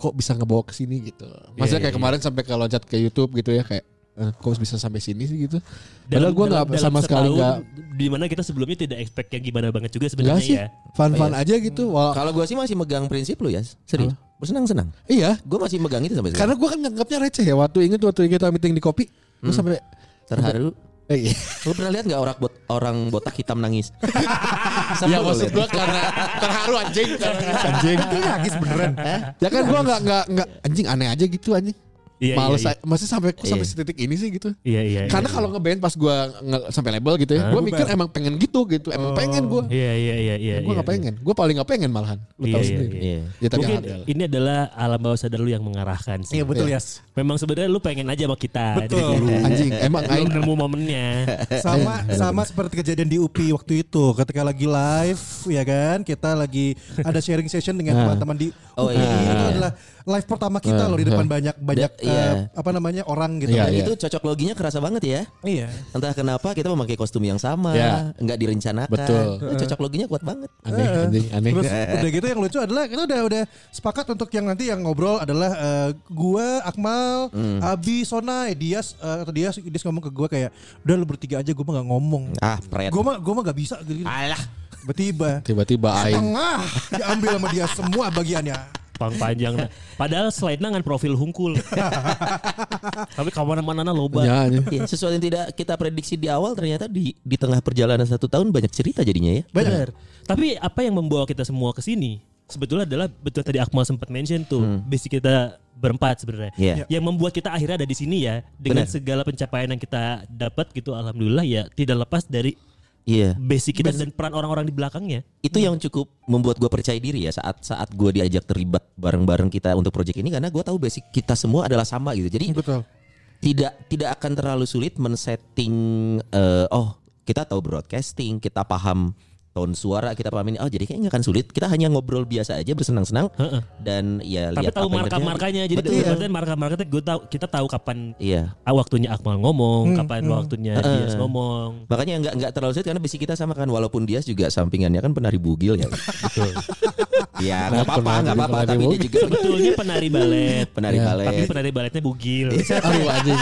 S3: kok bisa ngebawa ke sini gitu. Maksudnya
S2: Iya,
S3: kayak
S2: iya,
S3: kemarin sampai ke loncat ke YouTube gitu ya kayak eh, kok bisa sampai sini sih gitu. Padahal
S2: Dalam-
S3: gue nggak
S2: dalam- dalam
S3: sama sekali
S2: setahun,
S3: nggak
S2: Dimana kita sebelumnya tidak expect yang gimana banget juga
S3: nggak
S2: sebenarnya
S3: sih.
S2: ya. Hmm.
S3: Fun-fun aja gitu. Wah,
S4: Kalau gue sih masih megang prinsip lu ya, serius. Bersenang-senang.
S3: iya.
S4: Gue masih megang itu sampai sekarang.
S2: Hmm.
S3: Karena gue kan nganggapnya receh ya waktu inget waktu kita meeting di kopi, gue sampai
S4: terharu.
S3: Eh, iya.
S4: Lu pernah lihat nggak orang bot orang botak hitam nangis? Sama
S3: Ya
S4: lu
S3: maksud
S4: lihat?
S3: gue karena terharu anjing. anjing.
S5: nangis beneran.
S3: Ya kan gue nggak nggak nggak anjing aneh aja gitu anjing.
S2: Iya,
S3: Males
S2: iya,
S3: aja. masih sampai kok sampai
S4: Iya.
S3: setitik ini sih gitu.
S2: Iya iya.
S3: Karena
S2: iya.
S3: kalau ngeband pas gue nge- sampai label gitu ya,
S2: Hah?
S3: gue mikir emang pengen gitu gitu, emang pengen gue.
S2: Iya iya iya iya.
S3: Gue nggak pengen, gue paling nggak pengen malahan. Lu
S2: Iya,
S3: tahu
S2: iya,
S3: sendiri.
S4: Iya.
S3: Ya tapi
S2: Mungkin
S3: ada lah.
S2: ini adalah alam bawah sadar lu yang mengarahkan sih.
S5: Iya betul ya.
S2: Memang sebenarnya lu pengen aja sama kita. dari
S5: Betul.
S2: dulu.
S3: Anjing, emang
S2: Belum
S3: aing-
S2: nemu momennya.
S5: Sama
S3: Iya,
S5: sama seperti kejadian di UPI waktu itu ketika lagi live ya kan kita lagi ada sharing session
S3: Ah.
S5: dengan teman-teman di
S4: Oh,
S5: UPI.
S4: iya,
S5: Itu
S4: iya.
S5: adalah live pertama kita loh di depan banyak banyak
S4: Da- iya.
S5: eh, apa namanya orang gitu.
S4: Dan
S3: Ah. Iya, iya.
S4: Nah, itu cocok loginya kerasa banget ya.
S5: Iya.
S4: Entah kenapa kita memakai kostum yang sama,
S3: Ya.
S4: nggak direncanakan.
S3: Betul.
S4: Nah, cocok loginya kuat banget.
S3: aneh, anjing, aneh.
S5: Terus udah gitu yang lucu adalah kita udah udah sepakat untuk yang nanti yang ngobrol adalah eh, gua Akmal,
S4: Hmm.
S5: Abi, Sonai, Dias eh, atau Dias Dias ngomong ke gua kayak udah lu bertiga aja gua mah gak ngomong.
S4: Ah, pret.
S5: Gua mah gua mah gak bisa gitu. Alah. Tiba-tiba
S3: Tiba-tiba aing
S5: tengah diambil sama dia semua bagiannya.
S2: Pang panjang. nah. Padahal slide nangan profil hungkul. Tapi kawan mana loba.
S3: Ya, anjing.
S4: Iya, sesuatu yang tidak kita prediksi di awal ternyata di di tengah perjalanan satu tahun banyak cerita jadinya ya.
S2: Benar. Tapi apa yang membawa kita semua ke sini sebetulnya adalah betul tadi Akmal sempat mention tuh
S4: Hmm.
S2: basic kita berempat sebenarnya.
S4: Iya.
S2: Yang membuat kita akhirnya ada di sini ya dengan segala pencapaian yang kita dapat gitu alhamdulillah ya tidak lepas dari
S4: Iya.
S2: basic kita dan peran orang-orang di belakangnya.
S4: itu yang cukup membuat gue percaya diri ya saat saat gue diajak terlibat bareng-bareng kita untuk proyek ini karena gue tahu basic kita semua adalah sama gitu jadi
S5: Betul.
S4: tidak tidak akan terlalu sulit men-setting eh, oh kita tahu broadcasting kita paham tone suara kita paham ini oh jadi kayaknya nggak akan sulit kita hanya ngobrol biasa aja bersenang-senang
S2: Heeh.
S4: dan ya
S2: Tapi
S4: lihat apa
S2: tahu
S4: yang terjadi.
S2: marka-markanya jadi
S4: Betul.
S2: maksudnya marka-markanya gue tahu kita tahu kapan
S4: iya
S2: ah, waktunya Akmal ngomong, kapan waktunya
S4: Eh.
S2: Dias ngomong.
S4: makanya nggak nggak terlalu sulit karena basic kita sama kan walaupun dia juga sampingannya kan penari bugil ya
S2: Betul.
S4: ya nggak apa-apa nggak apa-apa
S3: Penari
S4: tapi dia
S3: bugil.
S4: juga
S2: Betulnya penari balet.
S4: penari
S3: Ya.
S4: balet
S2: Iya. Tapi penari baletnya bugil.
S3: Aduh anjing.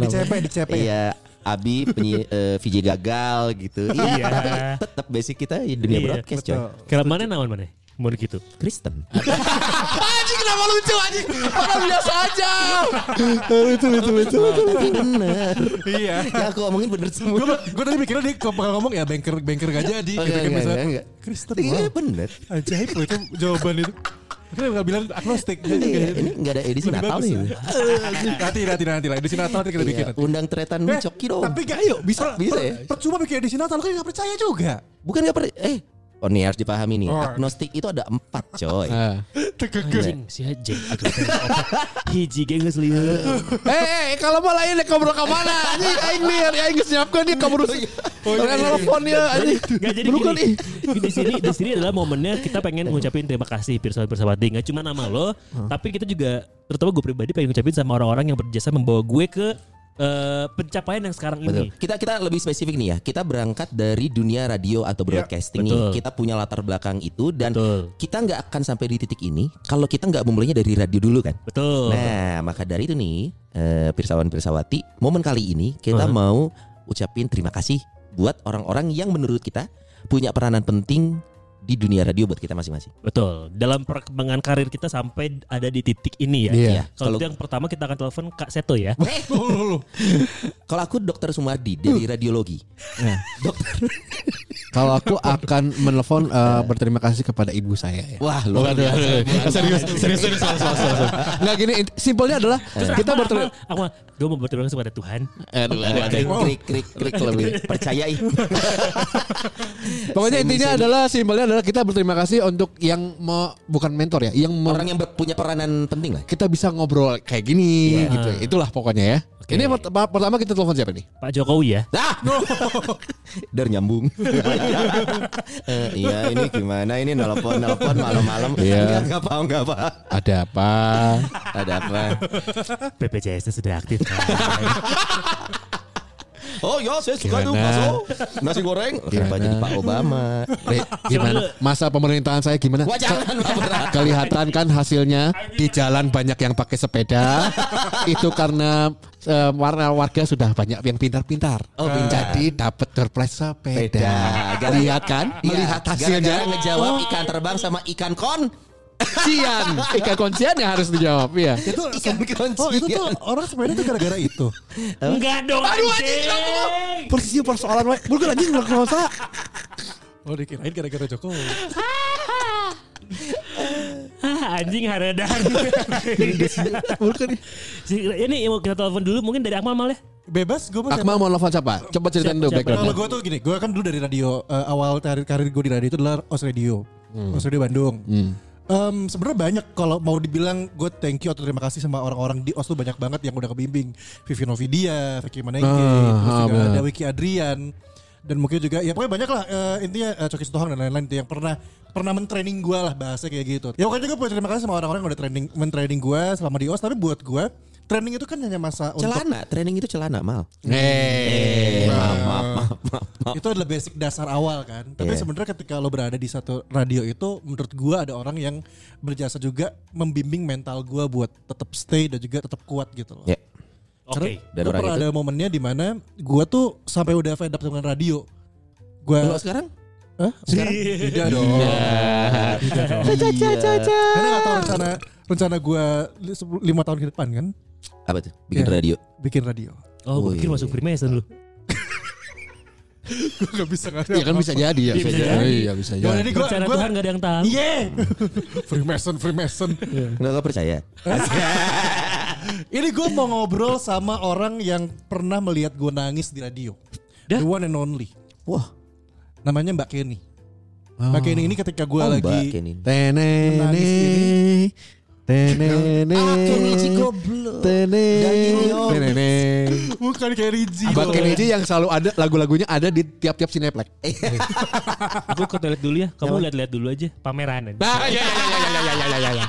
S5: Di CP, di CP.
S4: Iya, Abi penyi, eh, VJ gagal gitu.
S2: Iya.
S4: Iya. Tetap basic kita ya dunia
S2: Iya,
S4: broadcast coy.
S5: betul.
S2: Kalau mana naon mana? Mau gitu.
S4: Kristen.
S3: Anjing kenapa lucu anjing? Padahal biasa aja. lucu lucu lucu.
S4: Tapi bener.
S5: Iya.
S4: Ya aku ngomongin bener semua.
S5: Gue gue tadi mikirnya dia kok bakal ngomong ya banker banker gak jadi
S4: Oke, Oh,
S5: gitu kan
S4: enggak,
S5: misalnya.
S4: enggak, enggak.
S5: Kristen
S4: Iya
S5: wow.
S4: bener.
S5: Ajaib loh itu jawaban itu. Kita bakal bilang agnostik. Jadi
S4: Iya,
S5: kayak gitu.
S4: Ini nggak ada edisi
S5: lebih
S4: Natal
S5: bagus
S4: nih.
S5: ya. Nanti nanti nanti lah di sini Natal nanti kita bikin.
S4: Iya,
S5: nanti.
S4: undang tretan
S5: Eh,
S4: coki dong.
S5: Tapi gak yuk bisa
S4: Bisa
S5: per-
S4: ya?
S5: Percuma bikin di sini Natal kan gak percaya juga.
S4: Bukan nggak pernah. Eh, oh nih harus dipahami nih.
S5: Oh.
S4: Agnostik itu ada empat coy.
S3: Ah.
S2: Anjing si anjing aku hiji geng geus lieu.
S3: Eh, eh, kalau mau lain ngobrol ke mana? Anjing aing nih, aing geus nyiapkeun dia kabur. Oh,
S5: iya.
S3: jangan telepon dia anjing.
S2: Gak jadi
S3: Lu kan
S2: gini.
S3: ih.
S2: Di sini di sini adalah momennya kita pengen ngucapin terima kasih Pirsawan Pirsawati. Gak cuma nama lo, tapi kita juga terutama gue pribadi pengen ngucapin sama orang-orang yang berjasa membawa gue ke eh, pencapaian yang sekarang
S4: Betul.
S2: ini.
S4: Kita kita lebih spesifik nih ya. Kita berangkat dari dunia radio atau broadcasting
S2: betul.
S4: nih. Kita punya latar belakang itu dan
S2: Betul.
S4: kita nggak akan sampai di titik ini kalau kita nggak memulainya dari radio dulu kan.
S2: Betul.
S4: Nah, maka dari itu nih, eh, pirsawan pirsawati, momen kali ini kita mau ucapin terima kasih buat orang-orang yang menurut kita punya peranan penting di dunia radio buat kita masing-masing.
S2: Betul. Dalam perkembangan karir kita sampai ada di titik ini ya.
S3: Iya.
S2: Kalau
S4: Kalau-
S2: itu yang pertama kita akan telepon Kak Seto ya.
S4: Kalau aku dokter Sumardi dari radiologi. Dokter.
S3: Kalau aku akan menelpon eh, berterima kasih kepada ibu saya ya.
S4: Wah, lu
S3: serius, serius, serius, serius, serius. Enggak gini, int- simpelnya adalah
S4: Eh.
S3: kita berterima
S2: Aku gue mau berterima kasih kepada Tuhan.
S3: Aduh, aduh, aduh.
S4: Krik, krik, krik, krik, lebih. Percayai.
S3: Pokoknya
S4: Semi,
S3: intinya
S4: semi.
S3: adalah simpelnya adalah kita berterima kasih untuk yang me- bukan mentor ya, yang me-
S4: Orang yang ber- punya peranan penting lah.
S3: kita bisa ngobrol kayak gini
S4: Iya.
S3: gitu. Itulah pokoknya ya.
S2: Oke.
S3: Ini pert- pertama kita telepon siapa nih?
S2: Pak Jokowi ya.
S4: Ah, Dar nyambung. Eh, iya, ini gimana ini nelpon nelpon malam-malam.
S3: Iya.
S4: Enggak apa enggak apa.
S3: Ada apa?
S4: Ada apa?
S2: BPJS-nya sudah aktif.
S4: Oh ya, saya suka
S3: Gimana?
S4: tuh bakso nasi goreng. Kenapa
S3: Gimana?
S4: jadi Pak Obama?
S3: Re, Eh, gimana? Masa pemerintahan saya gimana?
S4: Wah jangan Pak Berat.
S3: Kelihatan kan hasilnya di jalan banyak yang pakai sepeda. Itu karena eh, warna warga sudah banyak yang pintar-pintar.
S4: Oh, pintar.
S3: Jadi dapat surprise sepeda.
S4: Gara-
S3: Lihat kan?
S4: Iya,
S3: Melihat hasilnya.
S4: gara-gara ngejawab ikan terbang sama ikan kon.
S3: kuncian. Ikan kuncian Eh, yang harus dijawab. Iya.
S5: Itu
S4: Ikan kelinci.
S5: Oh itu tuh orang sebenarnya tuh gara-gara itu.
S2: Enggak dong. Aduh
S5: Persisnya persoalan wae. Bukan anjing enggak kenapa. Oh dikirain gara-gara Jokowi.
S2: Ah, anjing haredan.
S3: Bukan.
S2: Si- Ini mau kita telepon dulu mungkin dari Akmal Mal ya.
S5: Bebas gue mah siapa-
S3: Akmal mau nelfon siapa? Coba ceritain dulu
S2: Siapa-
S5: Kalau
S3: backgroundnya.
S5: gue tuh gini, gue kan dulu dari radio eh, awal karir, karir gue di radio itu adalah Os Radio,
S3: Hmm.
S5: Os Radio Bandung. Em, Sebenarnya banyak kalau mau dibilang gue thank you atau terima kasih sama orang-orang di Os tuh banyak banget yang udah kebimbing. Vivi Novidia, Vicky Manege,
S3: Ah,
S5: terus
S3: ah,
S5: juga
S3: benar.
S5: ada Wiki Adrian dan mungkin juga ya pokoknya banyak lah eh, intinya eh, Coki Sitohang dan lain-lain itu yang pernah pernah mentraining gue lah bahasa kayak gitu. Ya pokoknya gue terima kasih sama orang-orang yang udah training mentraining gue selama di Os tapi buat gue training itu kan hanya masa untuk
S4: Celana, training itu celana mal. maaf,
S3: Eh,
S4: maaf, maaf, maaf, maaf.
S5: itu adalah basic dasar awal kan. Tapi
S4: Iya.
S5: sebenarnya ketika lo berada di satu radio itu, menurut gua ada orang yang berjasa juga membimbing mental gua buat tetap stay dan juga tetap kuat gitu loh.
S4: Ya,
S2: Oke.
S4: dan
S5: Gua
S4: orang
S5: pernah
S4: itu.
S5: ada momennya di mana gua tuh sampai udah fed up dengan radio.
S4: Kalau
S5: Gua
S4: sekarang?
S5: Hah? Sekarang? Tidak dong. Tidak dong. Karena gak tahu rencana rencana gua li- sepul- lima tahun ke depan kan
S4: Apa tuh? Bikin
S5: Iya.
S4: radio.
S5: bikin radio.
S2: Oh, gue pikir
S4: Wih.
S2: masuk Freemason dulu.
S5: Gua gak bisa ngasih.
S3: Ya kan bisa jadi ya.
S2: Iya, bisa jadi.
S3: Iya bisa
S5: Ya,
S3: jadi.
S5: ini gua,
S2: Rencana
S5: gua,
S2: Tuhan gak ada yang tahu.
S5: Iya. Freemason, Freemason.
S4: Enggak enggak percaya.
S5: Ini gue mau ngobrol sama orang yang pernah melihat gue nangis di radio.
S2: Dah.
S5: The one and only.
S4: Wah,
S5: Namanya Mbak Kenny. Mbak Kenny ini ketika
S4: oh,
S5: gue
S4: Mbak
S5: lagi...
S4: Kenin.
S5: Menangis ini.
S3: Tenene. Tenene.
S4: Ah, Kenichi goblok. Daging
S3: Tenene.
S4: nyong.
S3: Tenene.
S5: Bukan Kenny
S3: Ah, Mbak Kenichi yang selalu ada lagu-lagunya ada di tiap-tiap sineplek.
S2: Aku ke toilet dulu ya. Kamu lihat-lihat dulu aja pameran.
S3: Nah, iya, iya, iya, iya, iya, iya, iya, iya.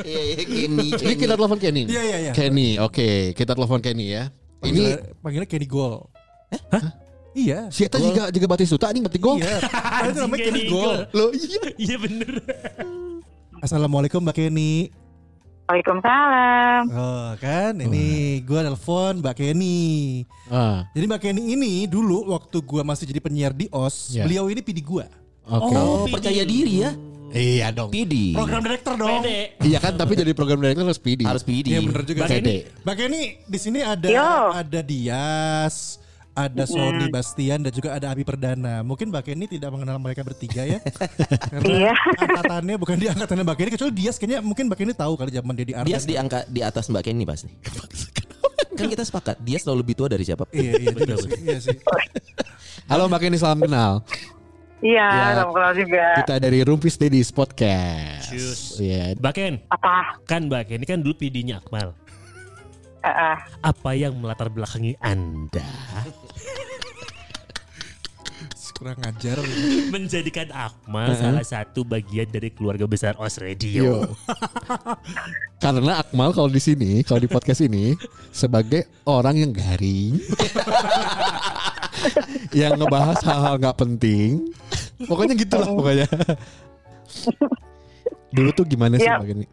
S3: Ini kita telepon Kenny.
S5: Iya, iya, iya.
S3: Kenny, oke, kita telepon Kenny ya. Ini
S5: Ini panggilnya Kenny Gol.
S3: Eh?
S5: Hah? Iya.
S3: si Eta juga juga Batistuta ini berarti gol.
S5: Iya. Padahal itu namanya
S2: Kenny
S5: Kenny Gol.
S2: Gol.
S3: Loh, iya.
S2: Iya bener.
S5: Assalamualaikum Mbak Kenny.
S7: Waalaikumsalam.
S5: Oh, kan
S3: iya.
S5: ini gue telepon Mbak Kenny.
S3: Ah,
S5: Jadi Mbak Kenny ini dulu waktu gue masih jadi penyiar di OS,
S3: Iya.
S5: beliau ini pidi gue.
S3: oke.
S4: Oh, percaya diri ya.
S3: Iya dong.
S4: Pidi.
S5: Program director dong.
S2: Pede.
S3: Iya kan, tapi jadi program director harus PD.
S4: Harus pidi.
S5: Iya bener juga.
S3: PD.
S5: Mbak Kenny, di sini ada
S7: Yo.
S5: ada Dias, ada Sony Bastian dan juga ada Abi Perdana. Mungkin Mbak Kenny tidak mengenal mereka bertiga ya. Karena
S7: Iya.
S5: angkatannya bukan di angkatannya Mbak Kenny kecuali Dias kayaknya mungkin Mbak Kenny tahu kali zaman dia di Arden.
S4: Dia di angka di atas Mbak Kenny pasti. kan kita sepakat, dia selalu lebih tua dari siapa?
S5: Iya, iya, juga sih, iya sih.
S3: Halo Mbak Kenny, salam kenal.
S7: Iya,
S3: Ya.
S7: salam kenal juga.
S3: Kita dari Rumpis Daddies Podcast. Iya.
S2: Baken,
S7: Apa?
S2: kan Baken ini kan dulu PD-nya Akmal.
S7: Eh, eh.
S2: Apa yang melatar belakangi Anda
S5: Kurang ngajar.
S2: menjadikan Akmal salah satu bagian dari keluarga besar Os
S4: Iya.
S2: Radio?
S3: Yo. Karena Akmal kalau di sini, kalau di podcast ini sebagai orang yang garing. yang ngebahas hal-hal nggak penting. Pokoknya gitu lah pokoknya. Dulu tuh gimana sih
S7: Ya.
S3: Mbak Kenny?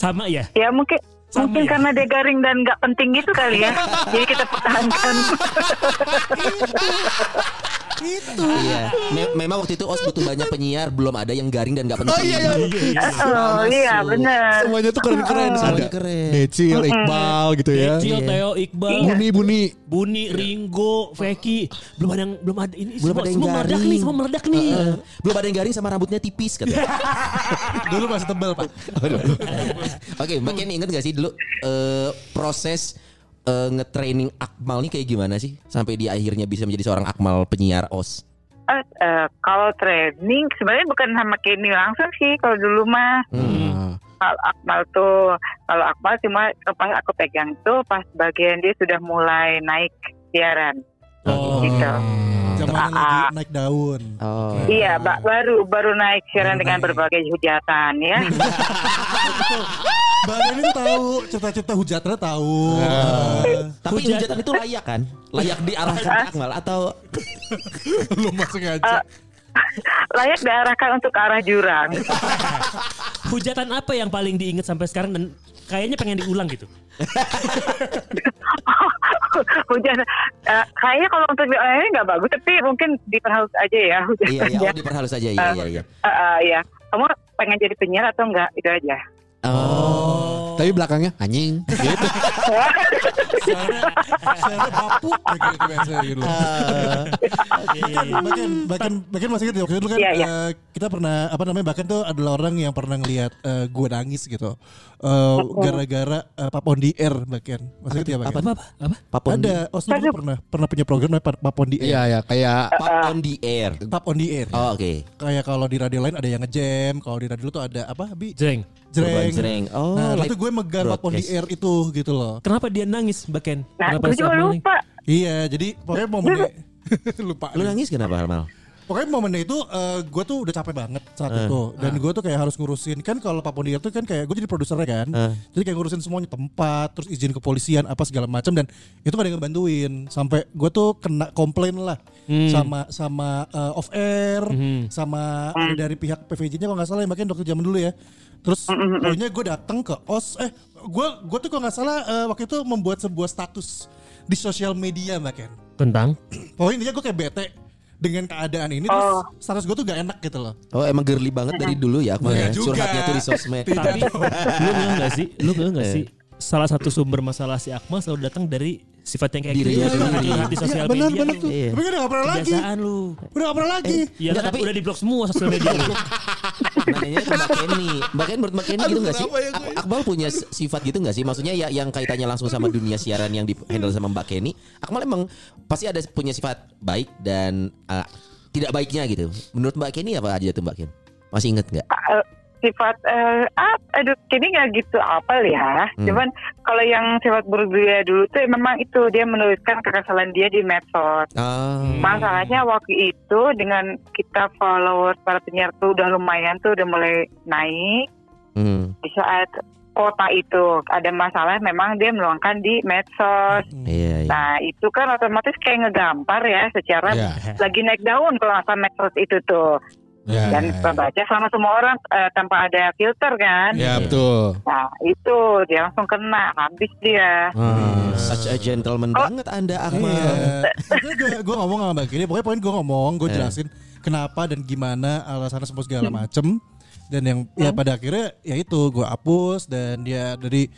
S2: Sama ya.
S7: Ya mungkin
S2: Sama
S7: mungkin
S2: ya?
S7: karena dia garing dan nggak penting gitu kali ya. Jadi kita pertahankan.
S4: Iya. Me- memang waktu itu OS butuh banyak penyiar, belum ada yang garing dan nggak penting.
S3: Oh iya, iya.
S7: oh iya benar.
S3: Semuanya tuh keren-keren.
S4: Semuanya
S3: Ada
S4: keren.
S3: Decil, Iqbal gitu ya.
S4: Iya.
S2: Cil,
S7: Iya.
S2: Teo, Iqbal,
S3: Buni-buni.
S2: Buni, Ringo, Feki, belum ada yang belum ada ini
S4: Belum
S2: semua,
S4: ada yang
S2: semua meledak
S4: garing.
S2: nih, semua meledak nih.
S4: Heeh. belum ada yang garing sama rambutnya tipis katanya.
S5: Dulu masih tebel, Pak.
S4: Oke, Mbak Kenny inget gak sih dulu eh, proses eh, ngetraining Akmal nih kayak gimana sih sampai dia akhirnya bisa menjadi seorang Akmal penyiar OS?
S7: Eh, eh, kalau training sebenarnya bukan sama Kenny langsung sih kalau dulu mah.
S3: Ah.
S7: Kalau Akmal tuh, kalau Akmal cuma pas aku pegang tuh pas bagian dia sudah mulai naik siaran.
S2: Oh.
S7: Gitu.
S5: Zaman
S7: Ah,
S5: lagi naik daun.
S4: Oh.
S7: Iya, ba- baru baru naik siaran
S5: Baru
S7: dengan
S5: naik.
S7: berbagai hujatan ya.
S5: Mbak Kenny tahu, cita-cita hujatnya tahu. Ah.
S4: Tapi
S2: Hujat-
S4: hujatan itu layak kan? Layak diarahkan ke Akmal atau
S5: Belum masuk
S7: Eh,
S5: aja.
S7: Layak diarahkan untuk ke arah jurang.
S2: Hujatan apa yang paling diingat sampai sekarang dan kayaknya pengen diulang gitu?
S7: hujan eh, kayaknya kalau untuk di eh, nggak bagus tapi mungkin diperhalus aja ya hujan
S4: oh, iya iya oh, diperhalus aja iya iya iya.
S7: Eh, eh, ya kamu pengen jadi penyiar atau enggak itu aja
S4: Oh.
S3: Tapi belakangnya anjing. Gitu.
S5: Saya bapuk kayak gitu biasanya gitu. Bahkan, bahkan, bahkan, bahkan masih ingat ya, waktu itu kan
S7: Iya, iya.
S5: eh, kita pernah apa namanya bahkan tuh adalah orang yang pernah ngelihat eh, gue nangis gitu Eh,
S7: Oh,
S5: gara-gara eh, Papon di Air bahkan masih ingat ya bahkan
S2: Apa apa apa?
S4: Papon
S5: ada
S4: di,
S5: Osno dulu pernah pernah punya program namanya Pa- Papon di Air
S3: Iya ya
S4: Uh,
S3: kayak
S4: Papon di air.
S5: Pap on the Air
S4: Oh, oke.
S5: kayak kalau di radio lain ada yang ngejam kalau di radio tuh ada apa bi
S2: Jeng.
S5: jreng
S4: Jreng. Oh,
S5: nah
S4: live
S5: waktu gue megang Pap on the
S4: broadcast.
S5: Air itu gitu loh
S2: Kenapa dia nangis Baken?
S7: nah
S2: Kenapa
S7: gue juga
S2: saat nangis?
S7: lupa
S5: iya jadi pokoknya momennya lupa
S4: Lu nangis kenapa Armal?
S5: Pokoknya momennya itu eh, gue tuh udah capek banget saat itu dan gue tuh kayak harus ngurusin kan kalau Pak Pondier tuh kan kayak gue jadi produsernya kan, jadi kayak ngurusin semuanya tempat, terus izin kepolisian apa segala macam dan itu gak ada yang ngebantuin sampai gue tuh kena komplain lah sama sama eh, off air, sama ada dari pihak PVJ-nya kalau nggak salah ya, makanya dokter zaman dulu ya. Terus akhirnya gue datang ke os, eh gue gue tuh kalau nggak salah eh, waktu itu membuat sebuah status di sosial media makanya.
S2: Tentang
S5: Pokoknya intinya gue kayak bete dengan keadaan ini terus status gue tuh gak enak gitu loh.
S4: Oh emang girly banget dari dulu ya Akmal ya.
S5: Enggak juga.
S4: Curhatnya tuh di sosmed.
S2: tapi lu bilang gak sih? Lu bilang gak
S4: Eh.
S2: sih? Salah satu sumber masalah si Akmal selalu datang dari sifat yang kayak
S4: Diri
S2: gitu.
S4: dia
S2: Curhat-
S4: sendiri.
S2: curhat di sosial
S5: bener,
S2: media. gitu.
S5: bener tuh.
S4: Iya.
S5: Tapi gue udah gak pernah lagi.
S2: Kebiasaan lu.
S5: Udah gak pernah lagi.
S2: Iya,
S4: Nggak,
S2: tapi
S4: tapi-
S2: udah di blok semua sosial media. lu.
S4: Nanyanya ke Mbak Kenny. Mbak Kenny menurut Mbak Kenny gitu gak sih? Ak- Akmal punya s- sifat gitu gak sih? Maksudnya ya yang kaitannya langsung sama dunia siaran yang di handle sama Mbak Kenny. Akmal emang pasti ada punya sifat baik dan ah, tidak baiknya gitu. Menurut Mbak Kenny apa aja tuh Mbak Kenny? Masih inget gak?
S7: Eh, sifat eh ap- aduh kini nggak gitu apa ya cuman kalau yang sifat buruk dia dulu tuh ya memang itu dia menuliskan kekesalan dia di medsos
S4: Ah,
S7: Masalahnya waktu itu dengan kita followers para penyiar tuh udah lumayan tuh udah mulai naik
S4: hmm.
S7: di saat kota itu ada masalah memang dia meluangkan di medsos.
S4: Iya, iya.
S7: Nah itu kan otomatis kayak ngegampar ya secara
S5: Iya,
S3: Ya.
S7: lagi naik daun kalau nggak salah medsos itu tuh
S5: Iya,
S3: ya,
S7: dan terbaca sama semua orang eh, tanpa ada filter kan.
S5: Iya.
S3: ya betul.
S7: Nah itu dia langsung kena habis dia.
S4: Hmm, Such a gentleman banget Anda Akmal.
S5: Gue gue ngomong sama Mbak Gini, pokoknya poin gue ngomong, gue jelasin kenapa dan gimana alasannya semua segala macem. Dan yang ya pada akhirnya ya itu gue hapus dan dia dari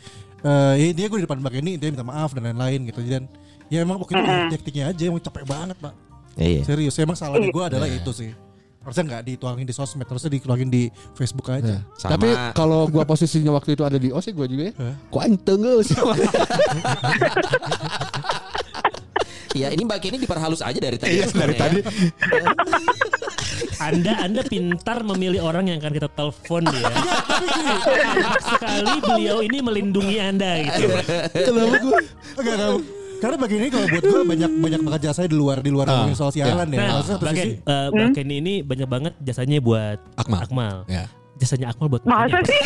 S5: eh ya intinya gue di depan Mbak Gini dia minta maaf dan lain-lain gitu dan ya emang waktu itu taktiknya aja emang capek banget pak
S4: Iya.
S5: serius emang salahnya gue adalah itu sih harusnya nggak dituangin di sosmed harusnya dikeluarin di Facebook aja
S4: Sama.
S3: Tapi kalau gua posisinya waktu itu ada di OC gua juga ya. Kok aing tenggel sih.
S4: Ya ini Mbak Kenny diperhalus aja Iya, dari tadi. sebenarnya.
S2: Anda Anda pintar memilih orang yang akan kita telepon ya. Sekali beliau ini melindungi Anda gitu.
S5: Kenapa gue? Enggak tahu. Karena bagi ini kalau buat gue banyak banyak banget jasanya di luar di luar ngomongin soal siaran ya.
S2: Nah,
S5: Maksudnya satu
S2: Baken,
S5: sisi-
S7: Hmm?
S2: eh, Baken ini banyak banget jasanya buat
S3: Akmal.
S2: Akmal.
S4: Iya.
S3: Ya.
S2: Jasanya Akmal buat
S7: Masa
S2: Baken apa?
S7: Nah, sih?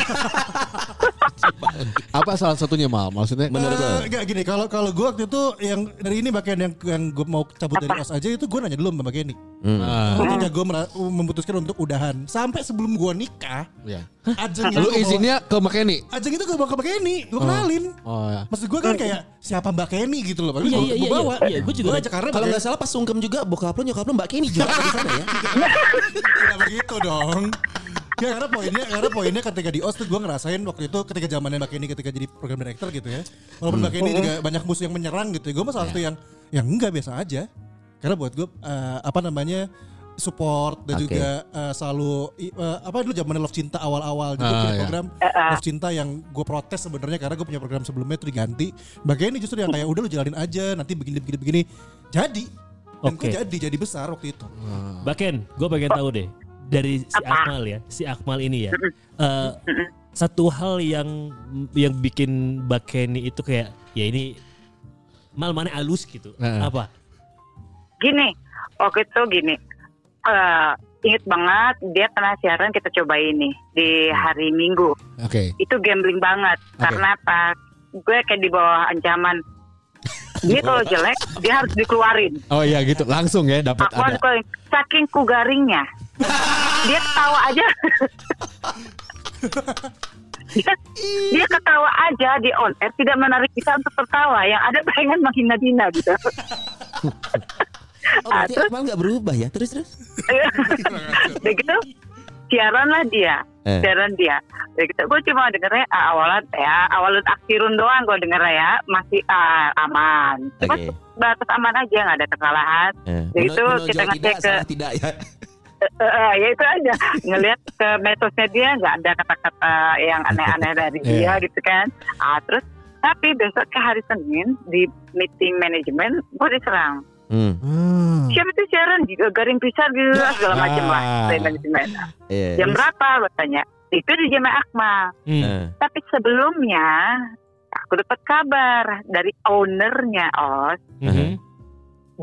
S3: Apa salah satunya mal? Maksudnya
S4: Menurut lo?
S5: Eh, enggak gini kalau kalau gue waktu itu yang dari ini bagian yang yang gue mau cabut dari os aja itu gue nanya dulu sama Kenny.
S4: Hmm.
S3: Ah,
S5: Waktu gue memutuskan untuk udahan sampai sebelum gue nikah.
S3: ya.
S5: Ajeng
S4: Kan
S5: itu
S3: Lu
S5: gua bawa-
S3: izinnya ke McKenny?
S5: Ajeng itu gue bawa ke Kenny, gue kenalin.
S3: Oh ya.
S5: Maksud gue kan kayak siapa Mbak Kenny gitu loh.
S2: Iya,
S5: Gua-
S2: iya,
S5: gua
S2: iya,
S5: bawa.
S2: iya. Gua juga-
S5: Gua ajak karena
S4: Kalau
S5: Mbak
S4: nggak salah pas sungkem juga bokap lo nyokap lo Mbak Kenny juga ada di sana ya.
S5: Tidak begitu dong. Ya karena poinnya karena poinnya ketika di OS tuh gue ngerasain waktu itu ketika zamannya Mbak Kenny ketika jadi program director gitu ya. Walaupun Mbak Kenny juga banyak musuh yang menyerang gitu. Gue masalah satu yang yang enggak biasa aja. Karena buat gue eh, apa namanya support dan
S4: Oke.
S5: juga eh, selalu i- eh, apa dulu zamannya Love Cinta awal-awal
S3: Ah,
S5: gitu punya
S3: iya.
S5: program Love Cinta yang gue protes sebenarnya karena gue punya program sebelumnya itu diganti. Mbak Kenny justru yang kayak udah lu jalanin aja nanti begini begini begini. Jadi dan
S2: Oke.
S5: gue jadi jadi besar waktu itu.
S2: Baken, gue pengen tahu deh dari si Akmal ya, si Akmal ini ya. Eh, satu hal yang yang bikin Baken itu kayak ya ini mal mana alus gitu.
S3: Nah.
S2: Apa?
S7: gini waktu itu gini eh inget banget dia pernah siaran kita coba ini di hari minggu
S3: Oke.
S7: itu gambling banget
S3: Oke.
S7: karena apa gue kayak di bawah ancaman dia kalau jelek dia harus dikeluarin
S3: Oh iya gitu. Langsung ya dapat
S7: aku harus
S3: ada.
S7: dikeluarin saking ku garingnya dia ketawa aja dia, dia ketawa aja di on air tidak menarik kita untuk tertawa yang ada pengen menghina-hina gitu
S4: Oh berarti Akmal nggak berubah ya terus terus.
S7: Udah gitu siaran lah dia
S4: Eh.
S7: siaran dia Dari kita gue cuma dengernya ah, awalan ya awalan akhirun doang gue dengernya ya masih ah, aman cuma
S4: Oke.
S7: batas aman aja nggak ada kesalahan
S4: Eh,
S7: Ya itu
S4: menonjol
S7: kita
S4: tidak,
S7: ngecek ke-
S4: salah tidak ya.
S7: Eh, eh, ya itu aja ngelihat ke metosnya dia nggak ada kata-kata yang aneh-aneh dari
S4: Iya.
S7: dia gitu kan ah terus tapi besok ke hari Senin di meeting manajemen gue diserang
S4: Hmm.
S3: Hmm.
S7: siapa tuh siaran gitu garing pisan gitu lah, segala macam lah
S3: Ah.
S7: dari manajemen
S4: Iya.
S7: jam berapa lo tanya itu di jam Akmal
S2: Hmm.
S4: Eh,
S7: tapi sebelumnya aku dapat kabar dari ownernya os
S2: Mhm.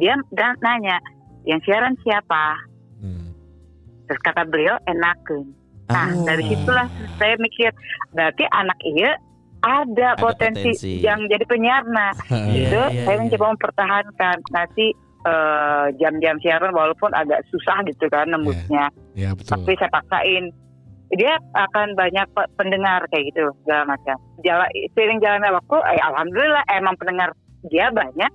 S7: dia dan nanya yang siaran siapa
S3: Hmm.
S7: terus kata beliau enakeun
S4: ah,
S7: Nah, dari situlah saya mikir, berarti anak iya ada,
S4: Ada
S7: potensi,
S4: potensi. Ya,
S7: yang jadi penyiar. Nah,
S2: Iya,
S7: itu
S2: iya,
S7: saya
S2: iya.
S7: mencoba mempertahankan nanti eh, jam-jam siaran walaupun agak susah gitu kan nembusnya,
S3: Ya
S7: tapi
S3: betul.
S7: saya paksain. Dia akan banyak pe- pendengar kayak gitu segala macam. Jala, sering jalannya waktu, eh, alhamdulillah emang pendengar dia banyak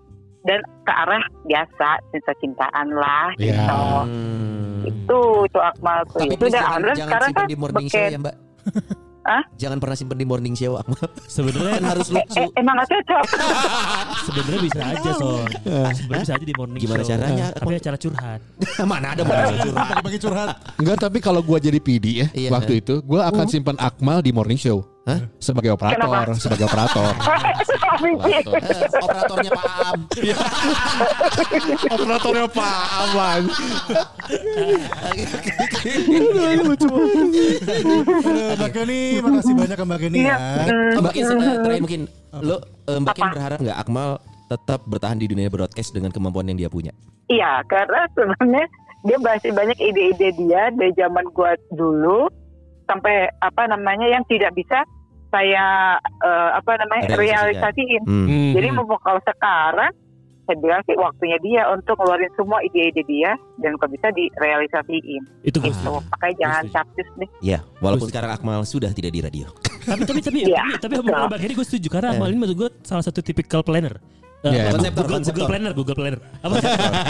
S7: dan ke arah biasa cinta-cintaan lah
S3: Iya.
S7: gitu.
S4: Hmm.
S7: Itu itu Akmal tuh.
S4: Tapi
S7: Itu
S4: please
S7: dan
S4: jangan,
S7: alhamdulillah
S4: jangan
S7: sekarang
S4: simpen
S7: kan
S4: di morning show
S7: beken.
S4: ya Mbak.
S7: Hah?
S4: Jangan pernah simpen di morning show Akmal.
S2: Sebenarnya
S4: Kan harus
S7: Eh,
S4: lucu.
S7: eh, emang gak cocok.
S2: sebenarnya bisa aja so. Sebenarnya bisa aja di morning
S4: Ya. Gimana
S2: show.
S4: caranya?
S2: Tapi acara curhat.
S4: Mana ada morning show curhat.
S5: Bagi-bagi curhat.
S3: Enggak tapi kalau gua jadi PD ya
S4: Iya.
S3: waktu itu gua akan simpan Akmal di morning show.
S4: Hah?
S3: Sebagai operator,
S7: Kenapa?
S3: sebagai operator.
S4: Eh, operatornya Pak Am.
S3: Operatornya Pak Aman.
S5: Aduh, Mbak Geni, makasih banyak ke Mbak Geni ya.
S4: Mbak Kin, eh, terakhir mungkin lo eh, Mbak Kin berharap nggak Akmal tetap bertahan di dunia broadcast dengan kemampuan yang dia punya.
S7: Iya, karena sebenarnya dia masih banyak ide-ide dia dari zaman gua dulu sampai apa namanya yang tidak bisa saya eh, apa namanya
S4: Realisasikan.
S7: realisasiin.
S4: Hmm.
S2: Mhm.
S7: Jadi mau kalau sekarang saya bilang sih waktunya dia untuk ngeluarin semua ide-ide dia dan kalau bisa direalisasiin.
S2: Itu gue
S7: Gitu.
S2: setuju.
S7: Pakai jangan
S2: Setuju.
S7: capcus deh.
S4: Ya, walaupun sekarang Akmal sudah tidak di radio.
S2: tapi tapi tapi
S7: Iya,
S2: tapi, tapi
S7: betul.
S2: omongan Bang Heri gue setuju karena Akmal ini maksud gue salah satu tipikal planner. Eh,
S3: Iya,
S2: apa?
S4: Iya. konseptor,
S2: Google,
S4: konseptor.
S2: Google planner, Google planner. Apa?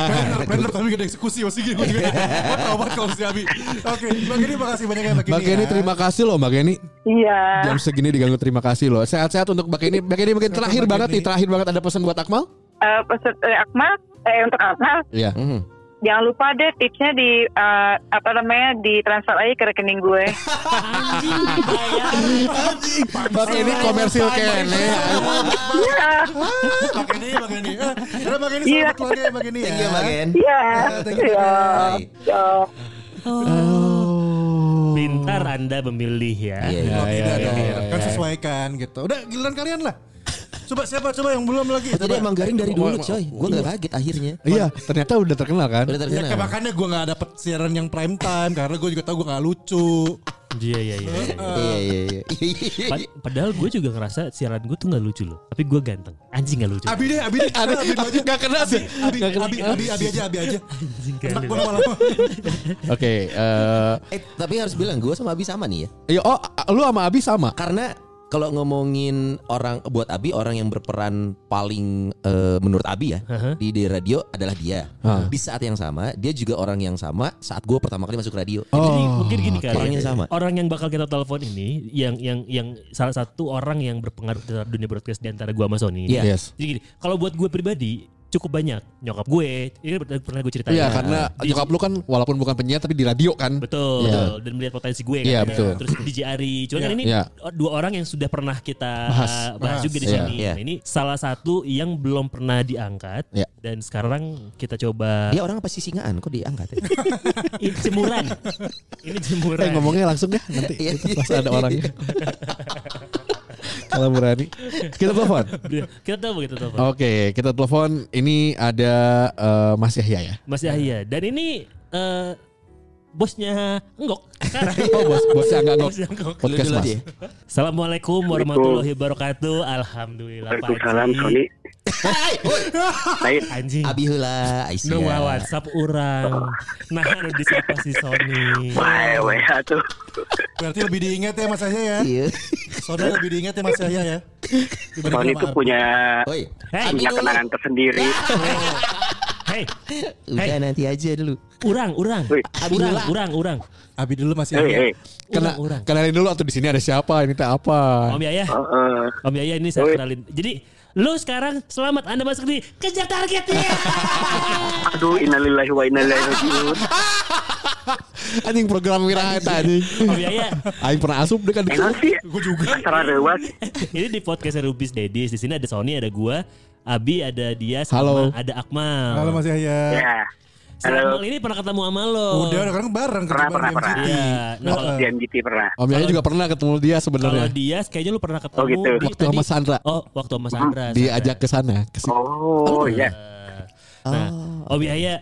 S5: Benar, benar kami gak ada eksekusi masih gini. Gue tau banget kalau si Abi. Oke, Mbak Geni makasih banyak ya Mbak Geni.
S3: Mbak Kenny
S5: ya.
S3: terima kasih loh Mbak Kenny.
S7: Iya.
S3: Jam segini diganggu terima kasih loh. Sehat-sehat untuk Mbak Kenny. Mbak Kenny mungkin terakhir
S5: Mbak
S3: banget
S5: Kenny.
S3: nih, terakhir banget ada pesan buat Akmal?
S7: Eh, pesan eh, Akmal eh untuk Akmal
S3: Iya.
S4: Hmm.
S7: jangan lupa deh tipsnya di eh, apa namanya di transfer aja ke rekening gue.
S3: Mbak Kenny komersil Kenny.
S7: Iya.
S5: Iya. Mbak Geni, Mbak Geni. Eh, Karena Mbak Geni
S7: Iya.
S5: selamat keluarga ya Mbak Geni ya.
S4: Thank you Mbak Ken.
S7: Iya.
S5: Thank you.
S7: Iya.
S4: Bye.
S7: Iya.
S2: Pintar Anda memilih ya.
S4: Iya, iya.
S5: Kalau tidak
S3: iya,
S5: dong,
S3: iya, iya.
S5: kan sesuaikan gitu. Udah giliran kalian lah. Coba siapa coba yang belum lagi.
S4: Tadi
S5: Coba.
S4: emang garing dari dulu coy. Gue gak kaget akhirnya.
S3: Iya, ternyata udah terkenal kan?
S4: Udah
S5: Ya,
S4: terkenal.
S5: kayak makanya gue gak dapet siaran yang prime time Karena gue juga tau gue gak lucu Eh,
S2: Iya iya iya. iya.
S4: Iya, iya, iya.
S2: Pad- padahal gue juga ngerasa siaran gue tuh nggak lucu loh. Tapi gue ganteng. Anjing nggak lucu.
S5: Abi deh, Abi deh Abi, Abi, dulu aja.
S3: Gak kena sih.
S5: Abi, Abi, Abi, Abi aja, Abi aja
S3: Iya.
S2: Anjing
S5: Enak gue
S2: kali.
S5: lama-lama
S3: Oke, eh
S4: Eh, tapi harus bilang gue sama Abi sama nih ya.
S3: ya oh a- lu sama Abi sama.
S4: Karena kalau ngomongin orang buat Abi orang yang berperan paling eh, menurut Abi ya
S2: Aha.
S3: Uh-huh.
S4: di, di radio adalah dia.
S3: Hah.
S4: Di saat yang sama dia juga orang yang sama saat gue pertama kali masuk radio.
S3: Oh.
S2: Jadi mungkin gini kali. ya.
S4: Orangnya sama.
S2: Orang yang bakal kita telepon ini yang yang yang salah satu orang yang berpengaruh terhadap dunia broadcast di antara gue sama Sony.
S4: Iya.
S3: Yes.
S2: Jadi gini, kalau buat gue pribadi cukup banyak nyokap gue ini kan pernah gue ceritain.
S3: Iya, karena
S2: Di-
S3: nyokap lu kan walaupun bukan penyiar tapi di radio kan.
S2: Betul,
S3: Iya.
S2: betul. dan melihat potensi gue kan.
S3: Iya, betul.
S2: Terus DJ Ari. Cuman kan ini
S3: Iya.
S2: dua orang yang sudah pernah kita
S3: Bahas.
S2: bahas,
S5: Bahas.
S2: juga di
S4: Iya.
S2: sini.
S4: Iya.
S2: Nah, ini salah satu yang belum pernah diangkat
S3: Iya.
S2: dan sekarang kita coba
S4: Dia orang pasti singaan kok diangkat. ya?
S2: ini jemuran. ini jemuran.
S3: Eh ngomongnya langsung deh nanti
S4: Iya.
S3: kita pas ada orangnya. Kalau berani kita telepon.
S2: Kita tahu kita tahu.
S3: Oke, kita telepon. Ini ada eh, Mas Yahya ya.
S2: Mas Yahya dan ini eh, bosnya Enggok sekarang.
S3: Oh, bos bosnya agak ngok.
S2: Bosnya Enggok.
S3: Podcast
S4: Dulu-dulu
S3: Mas.
S4: dia.
S2: Assalamualaikum warahmatullahi wabarakatuh. Alhamdulillah. Pak
S8: Waalaikumsalam
S2: Haji.
S8: Sony. Baik, ya.
S2: Anjing.
S4: Abi heula Aisyah.
S2: Nu yeah. WhatsApp orang. Nah, anu disapa si Sony.
S8: wae wae atuh.
S5: Berarti lebih diingat ya Mas Yahya ya
S4: Iya.
S5: Saudara lebih diingat ya Mas Yahya ya Dibanding
S8: Sony itu
S5: sama Abi.
S8: punya
S4: Oi.
S2: Hey.
S8: punya kenangan tersendiri.
S2: Hei,
S4: Udah nanti aja dulu.
S2: urang, urang.
S8: Wih.
S2: Urang, urang, urang.
S5: Abi dulu masih
S8: Hei, hei.
S2: Urang,
S3: Kena,
S2: urang.
S3: kenalin dulu atau di sini ada siapa ini teh apa?
S2: Om Yaya,
S8: Oh, eh.
S2: Om Yaya ini saya
S8: Wih.
S2: kenalin. Jadi lu sekarang selamat Anda masuk di kejar target ya.
S8: Aduh, innalillahi wa inna ilaihi rajiun.
S3: Anjing program wira eta anjing.
S2: Om Yaya,
S3: Aing pernah asup deh kan.
S8: Enak sih.
S5: Gue juga
S8: Salah rewas.
S2: ini di podcast Rubis Dedis. Di sini ada Sony, ada gua, Abi, ada dia, sama
S3: Halo.
S2: ada Akmal.
S5: Halo Mas Yahya
S8: Ya.
S2: Si Akmal
S8: Halo.
S2: ini pernah ketemu sama lo.
S5: Udah udah kan bareng
S8: Pernah,
S5: ketemu
S8: pernah,
S5: di MCT.
S2: Iya. Nah, kalau-
S8: Di MGT pernah.
S3: Om Yaya juga pernah ketemu dia
S2: kalau
S3: sebenarnya.
S2: dia kayaknya lu pernah ketemu
S8: Oh, gitu. Hmm.
S2: di-
S3: ya? Waktu sama
S2: tadi-
S3: Sandra.
S2: Oh, waktu sama Sandra.
S3: Diajak ke sana. ke si-
S8: Oh, ya.
S2: Nah,
S3: Oh.
S2: Om Yahya.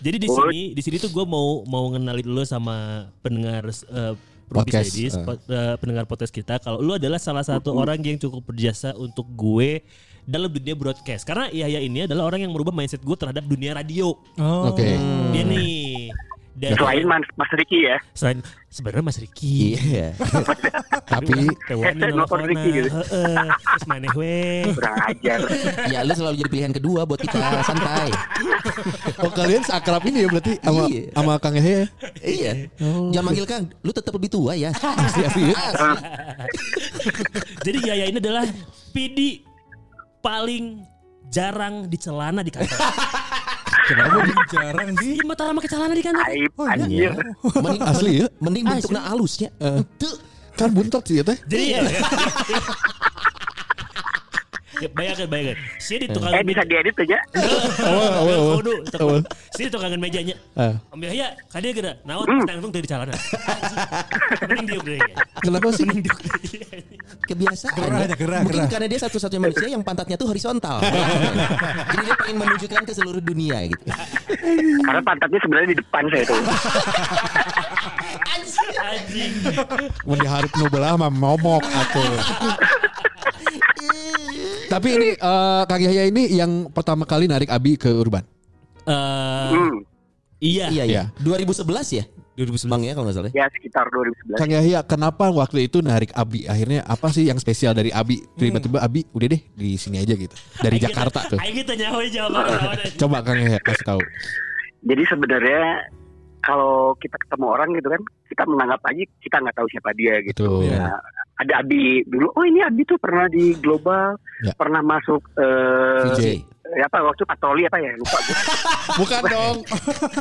S2: Jadi di
S8: Oh.
S2: sini, di sini tuh gue mau mau ngenalin lu sama pendengar eh, Rubis
S3: Podcast,
S2: Ladies,
S3: eh.
S2: pod- eh, pendengar podcast kita. Kalau lu adalah salah satu orang yang cukup berjasa untuk gue dalam dunia broadcast. Karena Yahya ini adalah orang yang merubah mindset gue terhadap dunia radio.
S5: Oh.
S3: Oke.
S2: Dia nih.
S5: Iya.
S2: dari-
S8: Selain Mas, Mas Riki ya.
S2: selain sebenarnya Mas Riki.
S4: Iya.
S3: Tapi
S2: Tewan
S8: Hashtag nelfon Ricky gitu.
S2: Terus maneh we.
S8: Kurang ajar.
S4: ya lu selalu jadi pilihan kedua buat kita santai.
S3: oh kalian seakrab ini ya berarti sama
S4: Iya.
S3: sama Kang Yahya.
S4: iya. Jangan manggil Kang, lu tetap lebih tua ya.
S3: Asli asli. ya.
S2: Jadi Yaya ini adalah PD paling jarang di celana di kantor.
S5: Kenapa dia jarang sih?
S2: Di mata pakai celana di kantor.
S8: Aib,
S5: Oh, iya.
S8: anjir.
S4: Mending
S3: Asli ya.
S4: mending bentuknya ya. halusnya.
S3: Eh, Kan buntot sih ya teh.
S2: Jadi ya. ya bayangkan, bayangkan. Si di tukang
S8: Eh, bisa diedit aja.
S3: Awal awal awal.
S2: Kudu, tukang-
S3: Awal.
S2: Si di tukangan mejanya.
S3: Eh,
S2: Om Yahya, kadang kena. Naon tangtung dari celana. Mending dia udah. ya.
S3: Kenapa sih?
S2: Mending dia udah, ya.
S4: Kebiasaan.
S5: Gerah
S4: ya.
S5: aja, gerah,
S4: Mungkin
S5: gerah.
S4: karena dia satu-satunya manusia yang pantatnya tuh horizontal. Jadi dia pengen menunjukkan ke seluruh dunia gitu.
S8: Karena pantatnya sebenarnya di depan saya tuh.
S2: Anjing.
S3: Mun diharap nu belah mah momok atuh. Tapi ini eh, Kang Yahya ini yang pertama kali narik Abi ke Urban.
S2: Eh,
S8: Hmm.
S2: Iya.
S4: Iya iya.
S3: Iya.
S4: 2011 ya? 2011. Bang ya kalau nggak salah.
S8: Ya, sekitar 2011.
S3: Kang Yahya, kenapa waktu itu narik Abi? Akhirnya apa sih yang spesial dari Abi? Tiba-tiba Abi udah deh di sini aja gitu.
S2: Aing
S3: Dari
S2: kita-
S3: Jakarta tuh.
S2: Aing kita nyawa jawaban lawan.
S3: Coba Kang Yahya kasih tahu.
S8: Jadi sebenarnya kalau kita ketemu orang gitu kan, kita menganggap aja kita nggak tahu siapa dia gitu.
S3: Betul.
S8: Nah, ada Abi dulu. Oh ini Abi tuh pernah di global,
S3: Ya.
S8: pernah masuk
S4: Iya.
S8: eh
S3: VJ.
S8: ya apa waktu patroli apa ya lupa. gue.
S3: Bukan dong.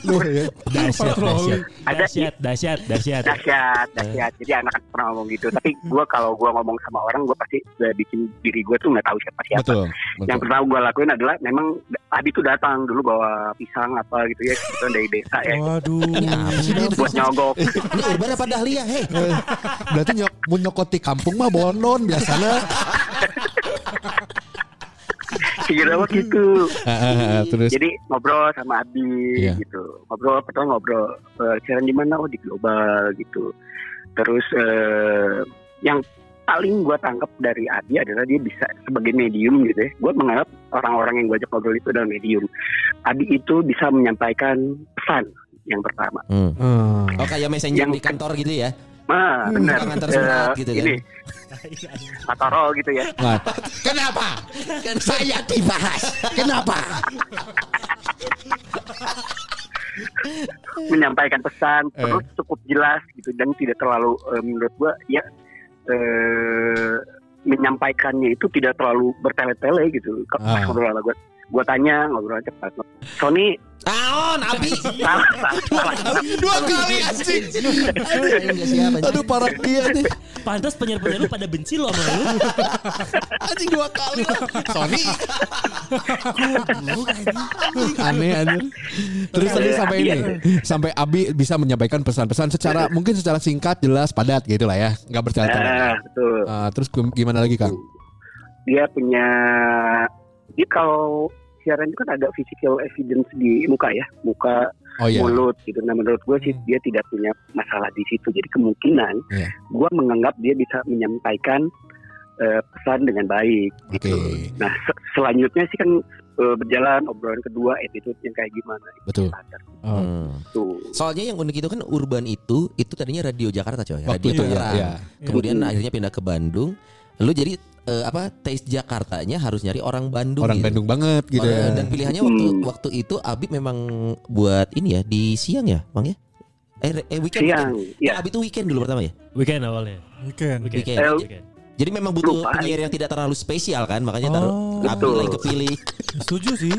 S3: Loh, ya.
S2: Dahsyat, dahsyat.
S8: Ada-
S2: Dahsyat, dahsyat, dahsyat.
S8: dahsyat, dahsyat. Jadi anak pernah ngomong gitu. Tapi gue kalau gue ngomong sama orang, gue pasti udah bikin diri gue tuh nggak tahu siapa siapa.
S3: Betul.
S8: Yang
S3: betul.
S8: pertama gue lakuin adalah memang Abi tuh datang dulu bawa pisang apa gitu ya, gitu, dari desa ya.
S5: Waduh.
S4: Iya, Apa sih Bang?
S8: buat nyogok.
S4: Ini urban apa dahlia? Hei.
S3: Eh, Berarti nyok mun nyokot di kampung mah bondon biasanya.
S8: Kira gitu.
S3: Eh, eh, eh, Terus
S8: Jadi ngobrol sama Abi
S3: Iya.
S8: gitu. Ngobrol pertama ngobrol eh, siaran di mana? Oh di Global gitu. Terus eh, yang paling gue tangkap dari Abi adalah dia bisa sebagai medium gitu ya. Gue menganggap orang-orang yang gue ajak ngobrol itu adalah medium. Abi itu bisa menyampaikan pesan yang pertama.
S4: Hmm.
S3: Hmm.
S4: Oh kayak messenger di
S8: Yang-
S4: kantor gitu ya.
S8: Nah, benar.
S4: Orang antar surat
S8: Eh,
S4: gitu kan.
S8: ini Pataro gitu ya.
S3: Nah,
S4: Kenapa? Kan saya dibahas. Kenapa?
S8: menyampaikan pesan
S3: Eh.
S8: terus cukup jelas gitu dan tidak terlalu eh, menurut gua ya eh, menyampaikannya itu tidak terlalu bertele-tele gitu Ke-
S3: Ah.
S8: ngobrol lah gua gua tanya ngobrol cepat Sony
S4: Taon Abi.
S8: salah salah salah
S3: dua kali anjing. Aduh parah dia nih.
S2: Pantas penyiar-penyiar lu pada benci lo sama lu.
S3: Anjing dua kali. Sony. Aneh anjir. Terus tadi sampai ini sampai Abi bisa menyampaikan pesan-pesan secara mungkin secara singkat, jelas, padat gitu lah ya. Enggak bertele-tele.
S8: nah, betul
S3: Ah, terus gim- gimana lagi Kang?
S8: dia punya dia kalau siaran itu kan ada physical evidence di muka ya muka
S3: Oh iya. Hmm.
S8: mulut gitu. Nah menurut gue sih dia tidak punya masalah di situ. Jadi kemungkinan
S3: Iya.
S8: gue menganggap dia bisa menyampaikan eh, pesan dengan baik.
S3: Oke,
S8: Nah se- selanjutnya sih kan eh, berjalan obrolan kedua attitude yang kayak gimana
S3: betul. Oh,
S8: tuh.
S4: Hmm. Soalnya yang unik itu kan urban itu itu tadinya radio Jakarta coy.
S3: Waktu
S4: Radio
S3: itu ya.
S4: Tangerang.
S3: ya.
S4: Kemudian akhirnya pindah ke Bandung. Lu jadi eh, apa taste Jakartanya harus nyari orang Bandung.
S3: Orang
S4: gitu.
S3: Bandung banget gitu
S4: Eh,
S3: ya.
S4: Dan pilihannya waktu
S8: Hmm.
S4: waktu itu Abi memang buat ini ya di siang ya, Bang ya? Eh, re- eh weekend.
S8: siang
S4: weekend.
S8: ya
S4: Abi itu weekend dulu pertama ya.
S2: Weekend awalnya.
S5: Weekend.
S2: Weekend.
S4: Weekend.
S8: Eh,
S2: Weekend.
S4: Jadi memang butuh
S8: Lupa.
S4: penyiar yang tidak terlalu spesial kan, makanya taruh
S5: Oh.
S4: Abi
S8: Betul.
S4: lagi kepilih.
S5: Setuju sih.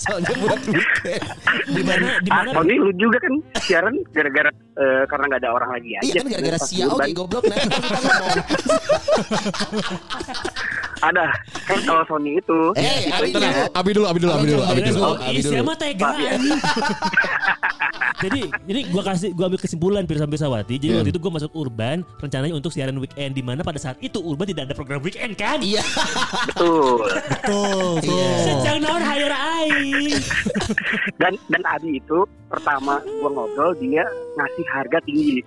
S4: Soalnya buat weekend.
S2: Di mana di
S8: ah
S2: mana?
S8: tahun ini lu juga kan siaran gara-gara eh, karena nggak ada orang lagi aja
S4: Iya kan gara-gara
S8: Pas
S4: sia oke
S8: kurban,
S4: goblok nah. Kita ngomong.
S8: ada kan kalau Sony itu
S4: Eh, Abi
S8: Tenang,
S4: dulu.
S3: Nah, Abi dulu, Abi dulu, Abi dulu,
S2: Abi
S3: Abi dulu.
S2: dulu.
S4: Abi
S2: Ih,
S4: dulu.
S2: siapa Oh, iya, tega
S8: iya.
S2: anjing. Jadi ini gua kasih gua ambil kesimpulan Pirsa Pirsawati. Jadi waktu itu gua masuk Urban rencananya untuk siaran weekend di mana pada saat itu Urban tidak ada program weekend kan?
S4: Iya.
S8: betul
S5: Tuh,
S8: Iya.
S5: tuh.
S2: Sejak naon hire aing.
S8: dan dan Abi itu pertama gua ngobrol dia ngasih harga tinggi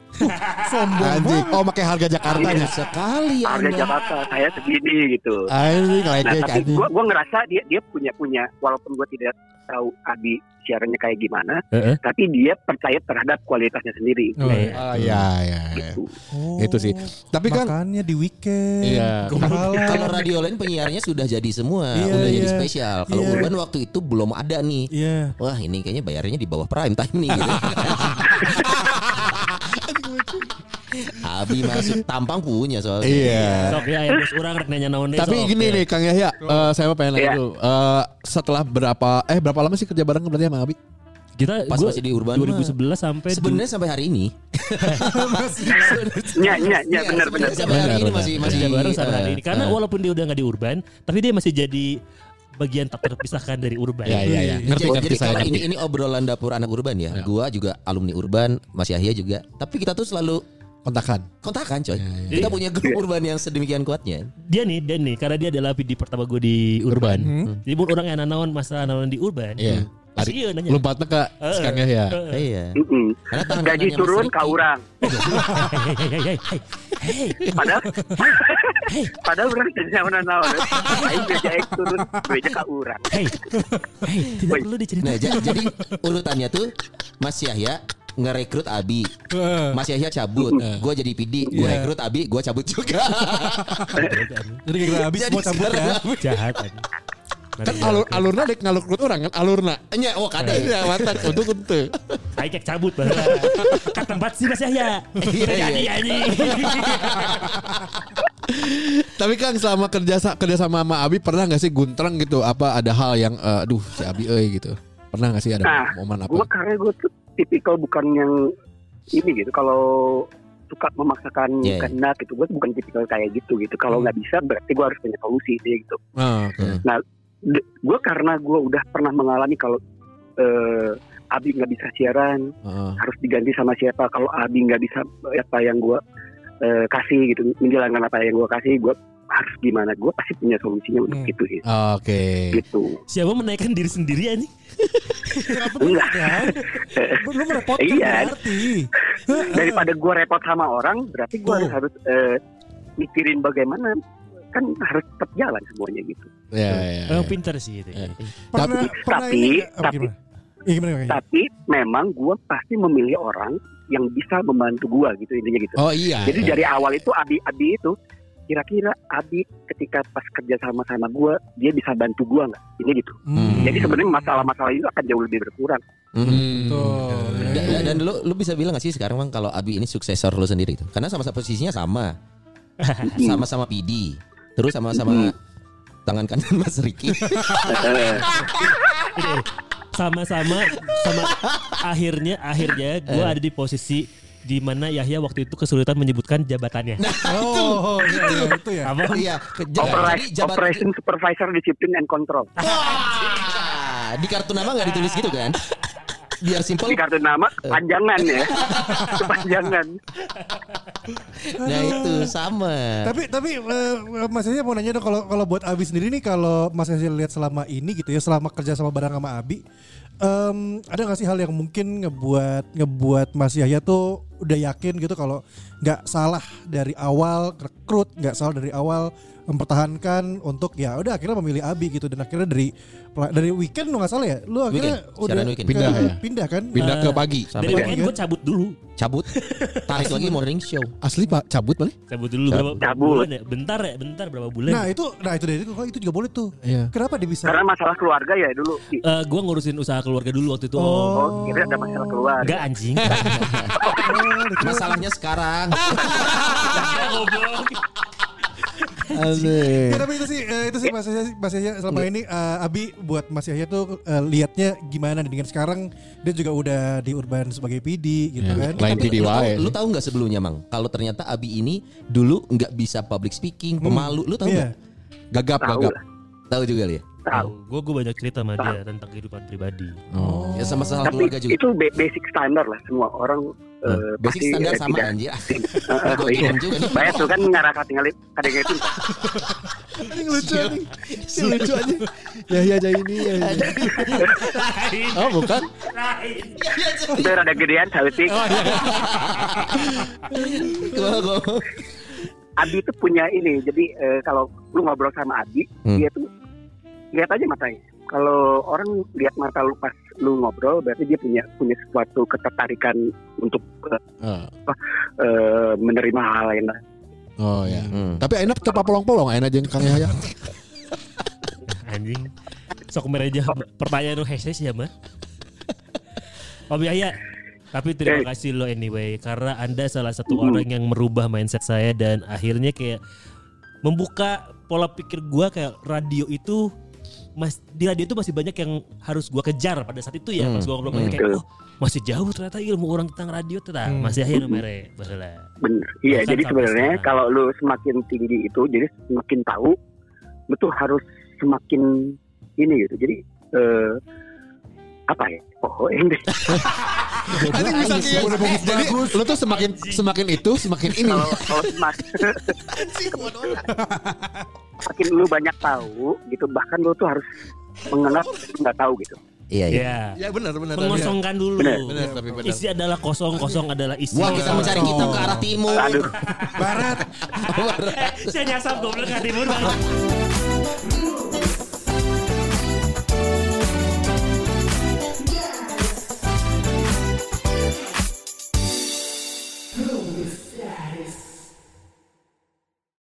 S3: Anjing. Oh, pakai harga Jakarta nih.
S4: sekali
S8: harga
S4: Anda.
S8: Jakarta saya segini gitu
S4: Iya,
S3: Anjing,
S8: Nah,
S3: lagi
S8: tapi gue gua ngerasa dia dia punya punya walaupun gue tidak tahu Abi siarannya kayak gimana,
S2: Heeh.
S8: tapi dia percaya terhadap kualitasnya sendiri.
S5: Oh, iya.
S3: Oh, iya, iya, iya.
S8: Gitu.
S5: Oh.
S3: Itu sih. Tapi kan
S5: Makannya di weekend.
S3: Iya.
S4: Kalau
S5: Kemahalan.
S4: radio lain penyiarnya sudah jadi semua,
S5: Iya,
S4: udah jadi
S5: iya.
S4: spesial. Kalau
S5: Iya.
S4: Urban waktu itu belum ada nih.
S5: Iya.
S4: Wah ini kayaknya bayarnya di bawah prime time nih gitu. Abi masuk tampang punya soalnya.
S3: Iya.
S2: Sok ya, ya bos orang rek nanya naon deh,
S3: Tapi
S2: sok,
S3: gini
S2: ya.
S3: nih Kang Yahya, eh, saya mau pengen nanya
S8: Iya.
S3: dulu. Eh, setelah berapa eh berapa lama sih kerja bareng berarti sama Abi?
S2: Kita
S4: Pas
S2: gua
S4: masih di Urban
S2: 2011 sampai
S4: Sebenarnya sampai hari ini.
S8: Iya, iya, iya, benar, benar.
S4: sebenarnya Sampai hari
S3: Benar,
S4: ini
S3: benar.
S4: masih
S2: du-
S4: masih
S2: kerja bareng sama
S4: eh,
S2: hari ini. Karena
S4: eh.
S2: walaupun dia udah nggak di Urban, tapi dia masih jadi bagian tak terpisahkan dari Urban.
S4: Ya,
S3: Iya, iya, iya. Ngerti
S4: jadi,
S3: ngerti
S4: jadi
S3: saya
S4: kalau
S3: ngerti.
S4: ini ini obrolan dapur anak urban ya.
S3: Ya.
S4: Gua juga alumni urban, Mas Yahya juga. Tapi kita tuh selalu
S3: Kontakan.
S4: kontakan coy.
S3: Ya, ya,
S4: Kita punya
S8: Iya.
S4: grup urban yang sedemikian kuatnya.
S2: Dia nih, dia nih, karena dia adalah PD pertama gue di Urban.
S4: Hmm.
S2: Jadi pun orang yang naon masalah naon di Urban.
S3: Iya.
S2: Masih iya nanya.
S3: Lompatnya ke si Kang Yahya.
S2: Heeh.
S4: Iya.
S8: Mm-mm.
S4: Karena tangan
S8: Gaji
S4: kanannya Mas
S8: turun
S4: Riki.
S8: ke orang.
S2: Hei, hei, hei, hei, hei.
S8: Padahal padahal orang jadi sama naon. Aing gaji aing turun beja ke orang.
S2: Hei, hei, tidak
S8: Woi.
S2: perlu
S4: Nah,
S2: diceritain.
S4: ja- jadi urutannya tuh Mas Yahya ngerekrut Abi.
S3: Eh.
S4: Mas Yahya cabut, gua jadi PD, gua
S5: Iya.
S4: rekrut Abi, gua cabut juga.
S5: Jadi kira habis
S4: Jadi
S5: mau cabut
S4: sekarang
S5: ya.
S4: Abi-
S2: Jahat. ya, kan.
S3: Kan alur alurna dek ngalurkeun orang kan alurna.
S4: Nya, oh kada.
S3: Iya, mantap. Untuk untuk.
S2: Ayo cek cabut bahwa ke tempat sih Mas Yahya.
S4: Iya,
S2: Tidak Jadi
S4: iya.
S2: anjing.
S3: Tapi Kang selama kerja sa- kerja sama sama Abi pernah nggak sih guntreng gitu apa ada hal yang eh, aduh si Abi euy gitu. Pernah nggak sih ada
S8: Nah,
S3: momen apa?
S4: Oh.
S8: Gue karena gue tuh tipikal bukan yang ini gitu. Kalau suka
S4: Iya,
S8: memaksakan
S4: Hmm. iya.
S8: kehendak gitu, gue bukan tipikal kayak gitu gitu. Kalau nggak bisa berarti gue harus punya solusi intinya gitu.
S3: Ah, oke.
S8: Gue karena gue udah pernah mengalami kalau eh, Abi nggak bisa siaran,
S3: Ah.
S8: harus diganti sama siapa kalau Abi nggak bisa eh, apa yang gue kasih gitu menjalankan apa yang gue kasih gue harus gimana gue pasti punya solusinya untuk
S5: Hmm.
S8: itu sih
S3: Oke.
S8: gitu
S2: Siapa menaikkan diri sendiri anjing?
S5: Kenapa
S8: Enggak.
S5: kan? Lu merepotkan
S8: Iya.
S5: berarti.
S8: daripada gue repot sama orang berarti gue
S5: Betul.
S8: harus, harus eh, mikirin bagaimana kan harus tetap jalan semuanya gitu
S3: Ya, ya, ya.
S2: Emang pinter sih gitu. itu.
S4: Ya.
S3: Iya.
S5: Pernah pernah
S8: tapi-
S5: ini nggak- apa
S8: tapi-
S5: gimana? Iya gimana gimana?
S8: tapi memang gue pasti memilih orang yang bisa membantu gue gitu intinya gitu
S3: Oh iya.
S8: Jadi
S3: iya.
S8: dari awal itu Abi Abi itu kira-kira Abi ketika pas kerja sama sama gue dia bisa bantu gue nggak? Ini gitu.
S5: Hmm.
S8: Jadi sebenarnya masalah-masalah itu akan jauh lebih berkurang.
S4: Mhm.
S3: Hmm.
S5: Tuh.
S4: Dan, dan- dan lu lu bisa bilang gak sih sekarang Bang kalau Abi ini suksesor lu sendiri itu? Karena sama-sama posisinya sama.
S3: Hmm.
S4: Sama-sama PD. Terus sama-sama tangan kanan Mas Riki.
S8: Eh,
S2: Ini, sama-sama sama akhirnya akhirnya gue ada di posisi di mana Yahya waktu itu kesulitan menyebutkan jabatannya.
S5: Oh, iya, iya, itu ya.
S2: Apa?
S4: Iya, ke- jadi
S8: operas-
S4: jabat-
S8: operation supervisor disiplin and control.
S4: Wah, di kartu nama nggak ditulis gitu kan? Biar
S8: Di
S4: simple.
S8: kartu nama
S4: Eh.
S8: panjangan ya. Kepanjangan.
S4: Nah itu sama.
S5: Tapi tapi eh, Mas Yahya mau nanya dong kalau kalau buat Abi sendiri nih kalau Mas Yahya lihat selama ini gitu ya selama kerja sama bareng sama Abi em, ada nggak sih hal yang mungkin ngebuat ngebuat Mas Yahya tuh udah yakin gitu kalau nggak salah dari awal rekrut nggak salah dari awal mempertahankan untuk ya udah akhirnya memilih Abi gitu dan akhirnya dari dari weekend lu nggak salah ya lu akhirnya
S4: Weekend,
S5: udah
S4: siaran weekend.
S3: Pindah ya?
S5: pindah kan
S3: Pindah ke
S2: Eh,
S3: pagi.
S2: Dari
S4: Sampai
S2: weekend gue cabut dulu.
S4: cabut tarik lagi morning show
S3: Asli Pak cabut balik?
S2: Cabut dulu berapa berapa
S8: Cabut.
S2: bulan ya? Bentar ya, bentar berapa bulan?
S5: nah itu nah itu dari itu itu juga boleh tuh
S3: Iya.
S5: kenapa dia bisa
S8: Karena masalah keluarga ya dulu. Ih,
S2: Eh, gue ngurusin usaha keluarga dulu waktu itu.
S5: Oh.
S8: Oh, kira ada masalah keluarga.
S2: Enggak anjing.
S4: masalahnya sekarang
S3: Ah.
S5: Ya, tapi itu sih eh, itu sih Mas Yahya, Mas Yahya selama ini eh, Abi buat Mas Yahya tuh eh, liatnya gimana dengan sekarang dia juga udah di Urban sebagai PD gitu kan.
S3: Lain
S4: Tapi
S3: PD
S4: lu tahu-
S3: wae.
S4: Lu tahu nggak sebelumnya mang? Kalau ternyata Abi ini dulu nggak bisa public
S3: Hmm.
S4: speaking, pemalu. Lu tahu
S5: Iya.
S4: nggak?
S3: Gagap
S8: Tahu
S3: gagap.
S8: lah.
S4: Tahu juga lu ya.
S8: Tahu.
S2: Gue gue banyak cerita sama dia tentang kehidupan pribadi.
S3: Oh.
S4: Ya sama sama
S8: Tapi
S4: keluarga juga.
S8: itu ba- basic standar lah semua orang eh,
S4: Hmm. Basic
S8: pasti,
S4: standar
S8: eh,
S4: sama
S8: tidak-
S4: anjir.
S8: Heeh,
S4: Gua
S8: iya.
S4: kirim juga nih.
S8: Banyak tuh kan ngarakat ngalip kadang itu.
S5: Ini lucu nih.
S3: Si lucu aja. Ya ya aja ini. ya, ya. Oh bukan?
S8: Itu rada gedean sautik.
S4: Gua- gua-
S8: Abi itu punya ini. Jadi eh, kalau lu ngobrol sama Abi,
S4: Hmm.
S8: dia tuh lihat aja matanya. Kalau orang lihat mata lu pas lu ngobrol, berarti dia punya punya sesuatu ketertarikan untuk eh,
S3: Oh,
S8: eh, menerima hal lain. lah.
S3: Oh ya.
S4: Hmm.
S3: Tapi enak tetap polong-polong enak aja Kang Yahya.
S2: Anjing. Sok mereja pertanyaan lu hashtag sih ya, Mbak. Om Yahya, tapi terima
S8: Eh.
S2: kasih lo anyway karena Anda salah satu orang yang merubah mindset saya dan akhirnya kayak membuka pola pikir gua kayak radio itu Mas di radio itu masih banyak yang harus gua kejar pada saat itu ya
S4: Hmm.
S2: pas gua ngobrol
S4: Hmm.
S2: kayak oh masih jauh ternyata ilmu orang tentang radio ternyata masih akhirnya mere baheula.
S8: Bener. Iya.
S2: Bahkan
S8: Jadi
S2: sampai
S8: sebenarnya
S2: sekarang.
S8: kalau lu semakin tinggi itu, jadi semakin tahu, betul harus semakin ini gitu. Jadi eh, apa ya? Oh, ini
S3: Ini bisa kayak- Eh, Jadi lu tuh semakin semakin itu semakin ini.
S8: kalau kalau semakin semakin lu banyak tahu gitu bahkan lu tuh harus menganggap nggak tahu gitu
S4: Iya iya.
S2: Ya.
S3: Ya benar benar.
S2: Mengosongkan dulu.
S8: Benar,
S3: Benar tapi benar.
S2: Isi adalah kosong, kosong adalah isi.
S4: Wah kita mencari kita ke arah timur.
S8: aduh
S5: Barat
S2: Saya nyasar goblok ke timur. Bang.